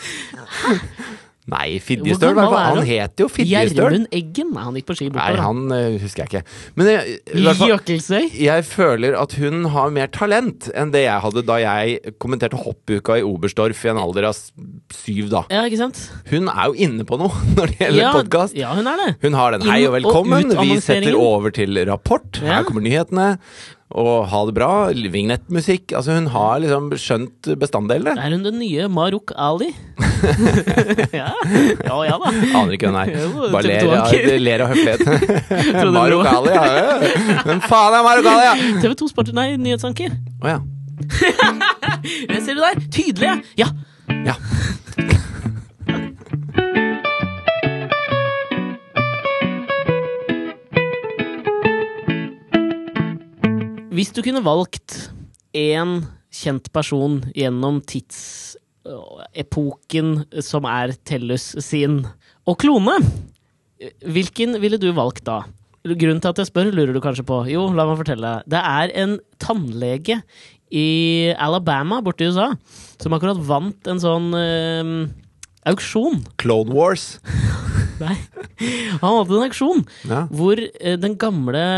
Nei, Fidjestøl,
Hvor gammel
hva faen?
er
Han
han?
het jo Fidjestøl.
Gjermund Eggen? Nei, han gikk på ski
Nei,
bortover. han.
han eh, husker jeg ikke. Men jeg, i hvert fall,
Jøkelsøy?
jeg føler at hun har mer talent enn det jeg hadde da jeg kommenterte hoppuka i Oberstdorf i en alder av s- syv, da.
Ja, ikke sant?
Hun er jo inne på noe når det gjelder
ja,
podkast.
Ja, hun er det.
Hun har den.
Inn
Hei og velkommen.
og ut
Vi
annonseringen.
setter over til rapport.
Ja.
Her kommer nyhetene. Og ha det bra. Vignettmusikk. Altså, hun har liksom skjønt bestanddelene.
Er hun den nye Maruk Ali? ja. ja, ja da.
Aner ikke hvem det er.
Jo,
Bare
TV2
ler av,
anker.
ler av høfligheten.
Trodde du det var-
Marokali, ja. Hvem faen er Marokali, ja?
TV2 Sport, nei, nyhetsanker.
Å ja.
Det ser du der! Tydelig! Ja!
ja.
Hvis du kunne valgt én kjent person gjennom tidsepoken som er Tellus sin, og klone, hvilken ville du valgt da? Grunnen til at jeg spør, lurer du kanskje på. Jo, la meg fortelle deg. Det er en tannlege i Alabama, borte i USA, som akkurat vant en sånn eh, auksjon.
Clone Wars.
Nei, han vant en auksjon
Ja.
hvor eh, den gamle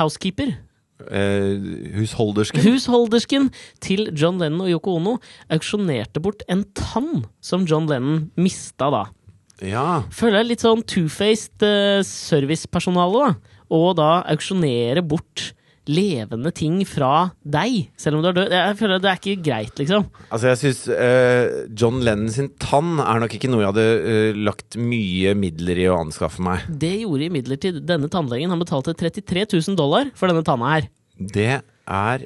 housekeeper
Eh, husholdersken.
Husholdersken til John Lennon og Yoko Ono auksjonerte bort en tann som John Lennon mista da.
Ja.
Føler jeg litt sånn two-faced eh, servicepersonale, da. Og da auksjonere bort levende ting fra deg, selv om du er død. Jeg føler det er ikke greit, liksom.
Altså, jeg syns John Lennon sin tann er nok ikke noe jeg hadde eh, lagt mye midler i å anskaffe meg.
Det gjorde imidlertid denne tannlegen. Han betalte 33 000 dollar for denne tanna her.
Det er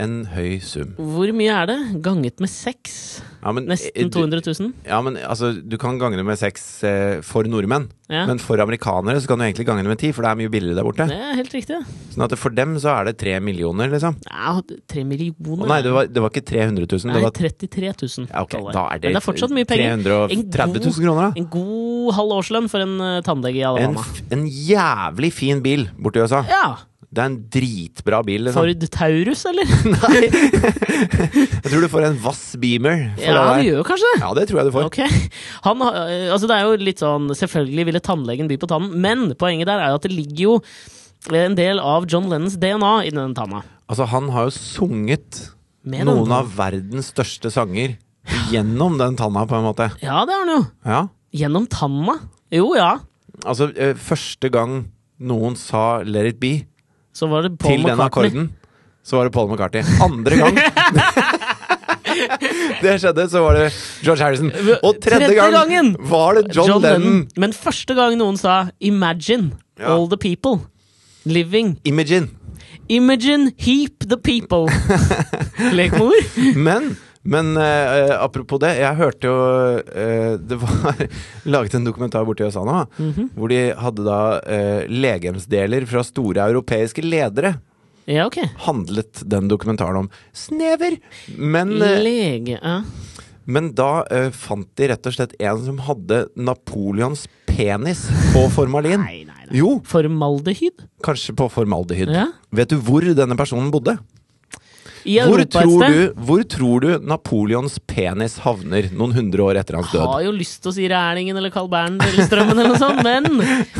en høy sum.
Hvor mye er det? Ganget med seks?
Ja, men, eh,
Nesten
du-
200 000?
Ja, men altså, Du kan gange det med seks eh, for nordmenn,
Ja.
men for amerikanere så kan du egentlig gange det med ti, for det er mye billigere der borte.
Det er helt riktig.
Sånn at for dem så er det tre millioner, liksom.
Ja, tre
Å
millioner
nei, det var, det var ikke 300 000.
Nei,
det var
33 000
Ja, ok,
dollar.
da er det
Men det er fortsatt mye penger.
330 000 kroner, da.
En god halv årslønn for en eh, tannlege i
en,
Alabama.
f- en jævlig fin bil borti USA.
Ja!
Det er en dritbra bil. Liksom.
Ford Taurus, eller?
Nei. jeg tror du får en Vass Beamer for
ja,
det
vi
der.
gjør jo kanskje det.
Ja, det tror jeg du får.
Ok. Han, har- eh, altså det er jo litt sånn Selvfølgelig ville tannlegen by på tannen, men poenget der er jo at det ligger jo eh, en del av John Lennons DNA i den tanna.
Altså, han har jo sunget
Med den
noen
tanna.
av verdens største sanger gjennom den tanna, på en måte.
Ja, det har han jo.
Ja.
Gjennom tanna. Jo, ja.
Altså, eh, første gang noen sa 'Let it be'
Så var det Paul
til den
McCartney.
akkorden, så var det Paul McCartney. Andre gang det skjedde, så var det George Harrison. Og tredje,
Tredje
gang
gangen
var det John,
John
Lennon.
Lennon. Men første gang noen sa 'imagine
Ja.
all the people living'.
Imogen.
Imogen heap the people. Lek med ord.
Men men eh, apropos det, jeg hørte jo eh, Det var laget en dokumentar borti USA nå, hvor de hadde da eh, legemsdeler fra store europeiske ledere.
Ja, ok.
handlet den dokumentaren om. Snever! Men, eh,
Lege ja.
Men da eh, fant de rett og slett en som hadde Napoleons penis på formalin.
Nei, nei, nei.
Jo,
Formaldehyd?
kanskje på formaldehyd.
Ja.
Vet du hvor denne personen bodde?
I
Hvor
Europa et
tror,
sted.
du, hvor tror du Napoleons penis havner noen hundre år etter hans død?
Har jo lyst til å si Rælingen eller Carl Bernt eller Strømmen eller noe sånt, men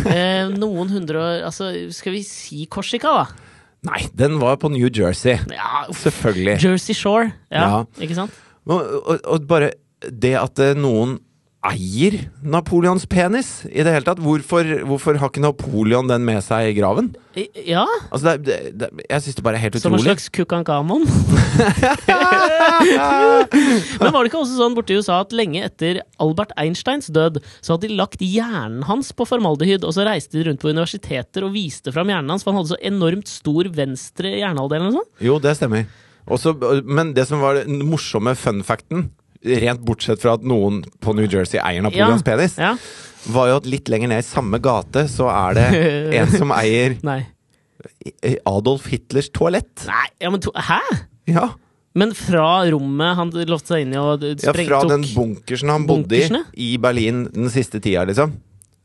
eh, noen hundre år Altså, skal vi si Korsika, da?
Nei, den var på New Jersey.
Ja, uff.
Selvfølgelig.
Jersey Shore. Ja, Ikke sant?
Og, og, og bare det at eh, noen eier Napoleons penis i det hele tatt. Hvorfor, hvorfor har ikke Napoleon den med seg i graven?
I- Ja?
Altså, det, er- det, det, jeg syns det bare er helt
Som en
utrolig.
slags Kukankamon. Men var det ikke også sånn borte i USA at lenge etter Albert Einsteins død, så hadde de lagt hjernen hans på formaldehyd, og så reiste de rundt på universiteter og viste fram hjernen hans, for han hadde så enormt stor venstre hjernehalvdel eller noe sånt.
Jo, det stemmer. Også, men det som var den morsomme fun facten, rent bortsett fra at noen på New Jersey eier Napoleons penis,
Ja.
var jo at litt lenger ned i samme gate så er det en som eier eh,
Nei.
Adolf Hitlers toalett.
Nei, ja, men to, Hæ?
Ja,
Men fra rommet han lovte seg inn i og
ja
sprengte
Fra den bunkersen han bodde i
Bunkersen,
i Berlin den siste tida, liksom.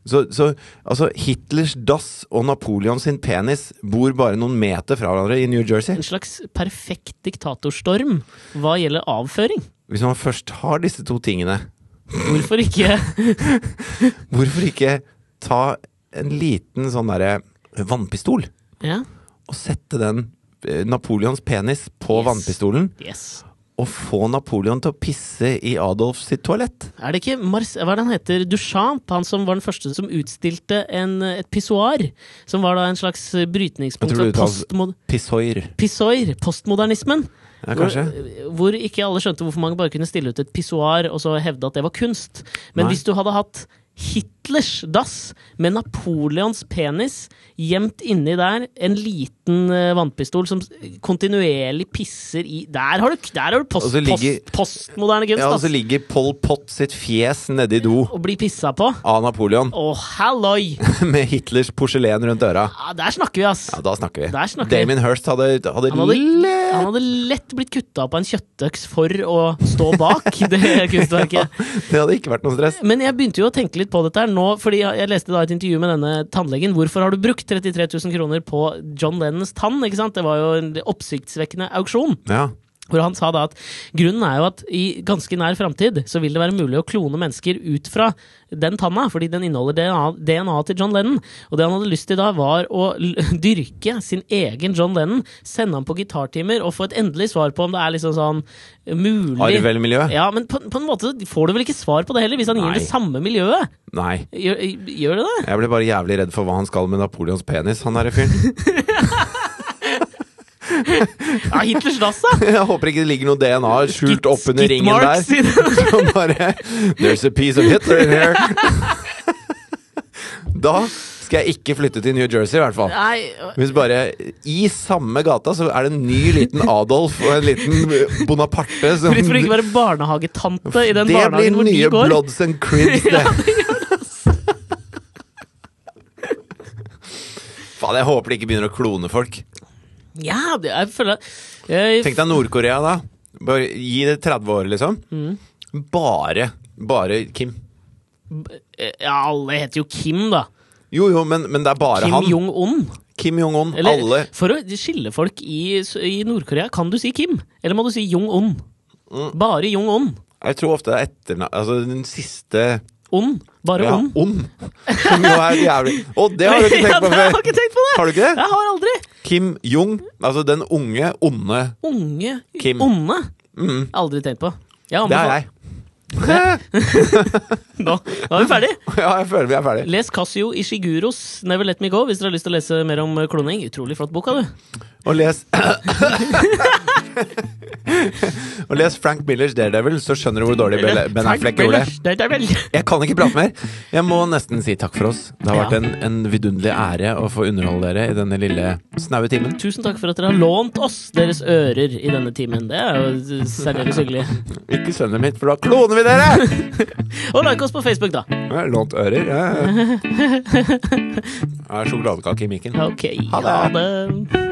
Så, så altså, Hitlers dass og Napoleon sin penis bor bare noen meter fra hverandre i New Jersey.
En slags perfekt diktatorstorm hva gjelder avføring.
Hvis man først har disse to tingene,
Hvorfor ikke
hvorfor ikke ta en liten sånn derre vannpistol
Ja,
og sette den eh, Napoleons penis på
Yes.
vannpistolen,
yes.
og få Napoleon til å pisse i Adolf sitt toalett?
Er det ikke Mars, hva er det han heter? Duchamp, han som var den første som utstilte en, et pissoar. Som var da en slags brytningspunkt
Jeg tror
for
det uttales-
postmod
Pissoir.
pissoir, postmodernismen.
Ja, kanskje.
Hvor, hvor ikke alle skjønte hvorfor man bare kunne stille ut et pissoar og så hevde at det var kunst. Men
Nei.
hvis du hadde hatt Hitlers dass med Napoleons penis gjemt inni der, en liten eh, vannpistol som s- kontinuerlig pisser i Der har du, der har du post,
Og så ligger-
post, postmoderne kunst,
Ja, og
ass!
så ligger Pol Pot sitt fjes nedi do
Å bli pissa på.
av Napoleon
Å, halloi!
med Hitlers porselen rundt øra.
Ja, der snakker vi, ass!
Ja, da snakker vi.
Der snakker vi.
Damien Hirst hadde, hadde,
Han hadde,
le-
han hadde lett blitt kutta på en kjøttøks for å stå bak det kunstverket.
Det hadde ikke vært noe stress.
Men jeg begynte jo å tenke litt på dette her nå, fordi jeg jeg leste da et intervju med denne tannlegen. Hvorfor har du brukt 33 000 kroner på John Lennons tann? ikke sant? Det var jo en oppsiktsvekkende auksjon.
Ja.
Hvor han sa da at grunnen er jo at i ganske nær framtid så vil det være mulig å klone mennesker ut fra den tanna, fordi den inneholder DNA, DNA til John Lennon. Og det han hadde lyst til da, var å l dyrke sin egen John Lennon, sende ham på gitartimer og få et endelig svar på om det er liksom sånn mulig
Arv eller miljø?
Ja, men på, på en måte får du vel ikke svar på det heller, hvis han
Nei.
gir det samme miljøet?
Nei.
Gjør, gjør det det?
Jeg ble bare jævlig redd for hva han skal med Napoleons penis, han derre fyren.
Ja, Hitlers dass, da!
Jeg håper ikke det ligger noe DNA skjult oppunder ringen
Skidmarks
der.
i den.
Som bare There's a piece of Hitler in here. Da skal jeg ikke flytte til New Jersey, i hvert fall.
Nei,
Hvis bare I samme gata så er det en ny liten Adolf og en liten Bonaparte som
Fritt for å ikke være barnehagetante i den
Det
barnehagen
blir
hvor de
nye
går.
Bloods and Cribs, det.
altså.
Faen, jeg håper de ikke begynner å klone folk.
Ja, det, jeg føler jeg,
Tenk deg Nord-Korea, da. Bare gi det 30 år, liksom.
Mm.
Bare bare Kim.
Ja, alle heter jo Kim, da.
Jo, jo, men, men det er bare
Kim
han.
Jong-un.
Kim Jong-un.
Eller
Alle.
for å skille folk i, i Nord-Korea, kan du si Kim? Eller må du si Jong-un?
Mm.
Bare Jong-un.
Jeg tror ofte det er etternavn Altså den siste
On. Bare
Ja,
on.
ond. Som jo er jævlig Å, det har du ikke
Ja,
tenkt på
det har jeg
før!
ikke tenkt på det!
Har du ikke det?
Jeg har aldri!
Kim Jong. Altså den unge, onde
Unge
Kim.
Onde. Aldri tenkt på. Jeg
Det er
anbefaler-
jeg. ja,
Nå, nå er vi ferdig.
jeg føler vi er ferdig.
Les Casio Ishiguros Never Let Me Go hvis dere har lyst til å lese mer om eh, kloning. Utrolig flott bok, du.
Og les Og les Frank Millers Daredevil, så skjønner du hvor dårlig Bel- Ben Affleck gjorde det.
det. er vel
Jeg kan ikke prate mer. Jeg må nesten si takk for oss. Det har vært
Ja.
en, en vidunderlig ære å få underholde dere i denne lille snaue timen.
Tusen takk for at dere har lånt oss deres ører i denne timen. Det er jo særdeles hyggelig.
Ikke sønnet mitt, for da kloner vi dere!
Og like oss på Facebook, da.
Jeg har Lånt ører. Jeg jeg har sjokoladekake i mikken.
Ok,
Ha det.
det.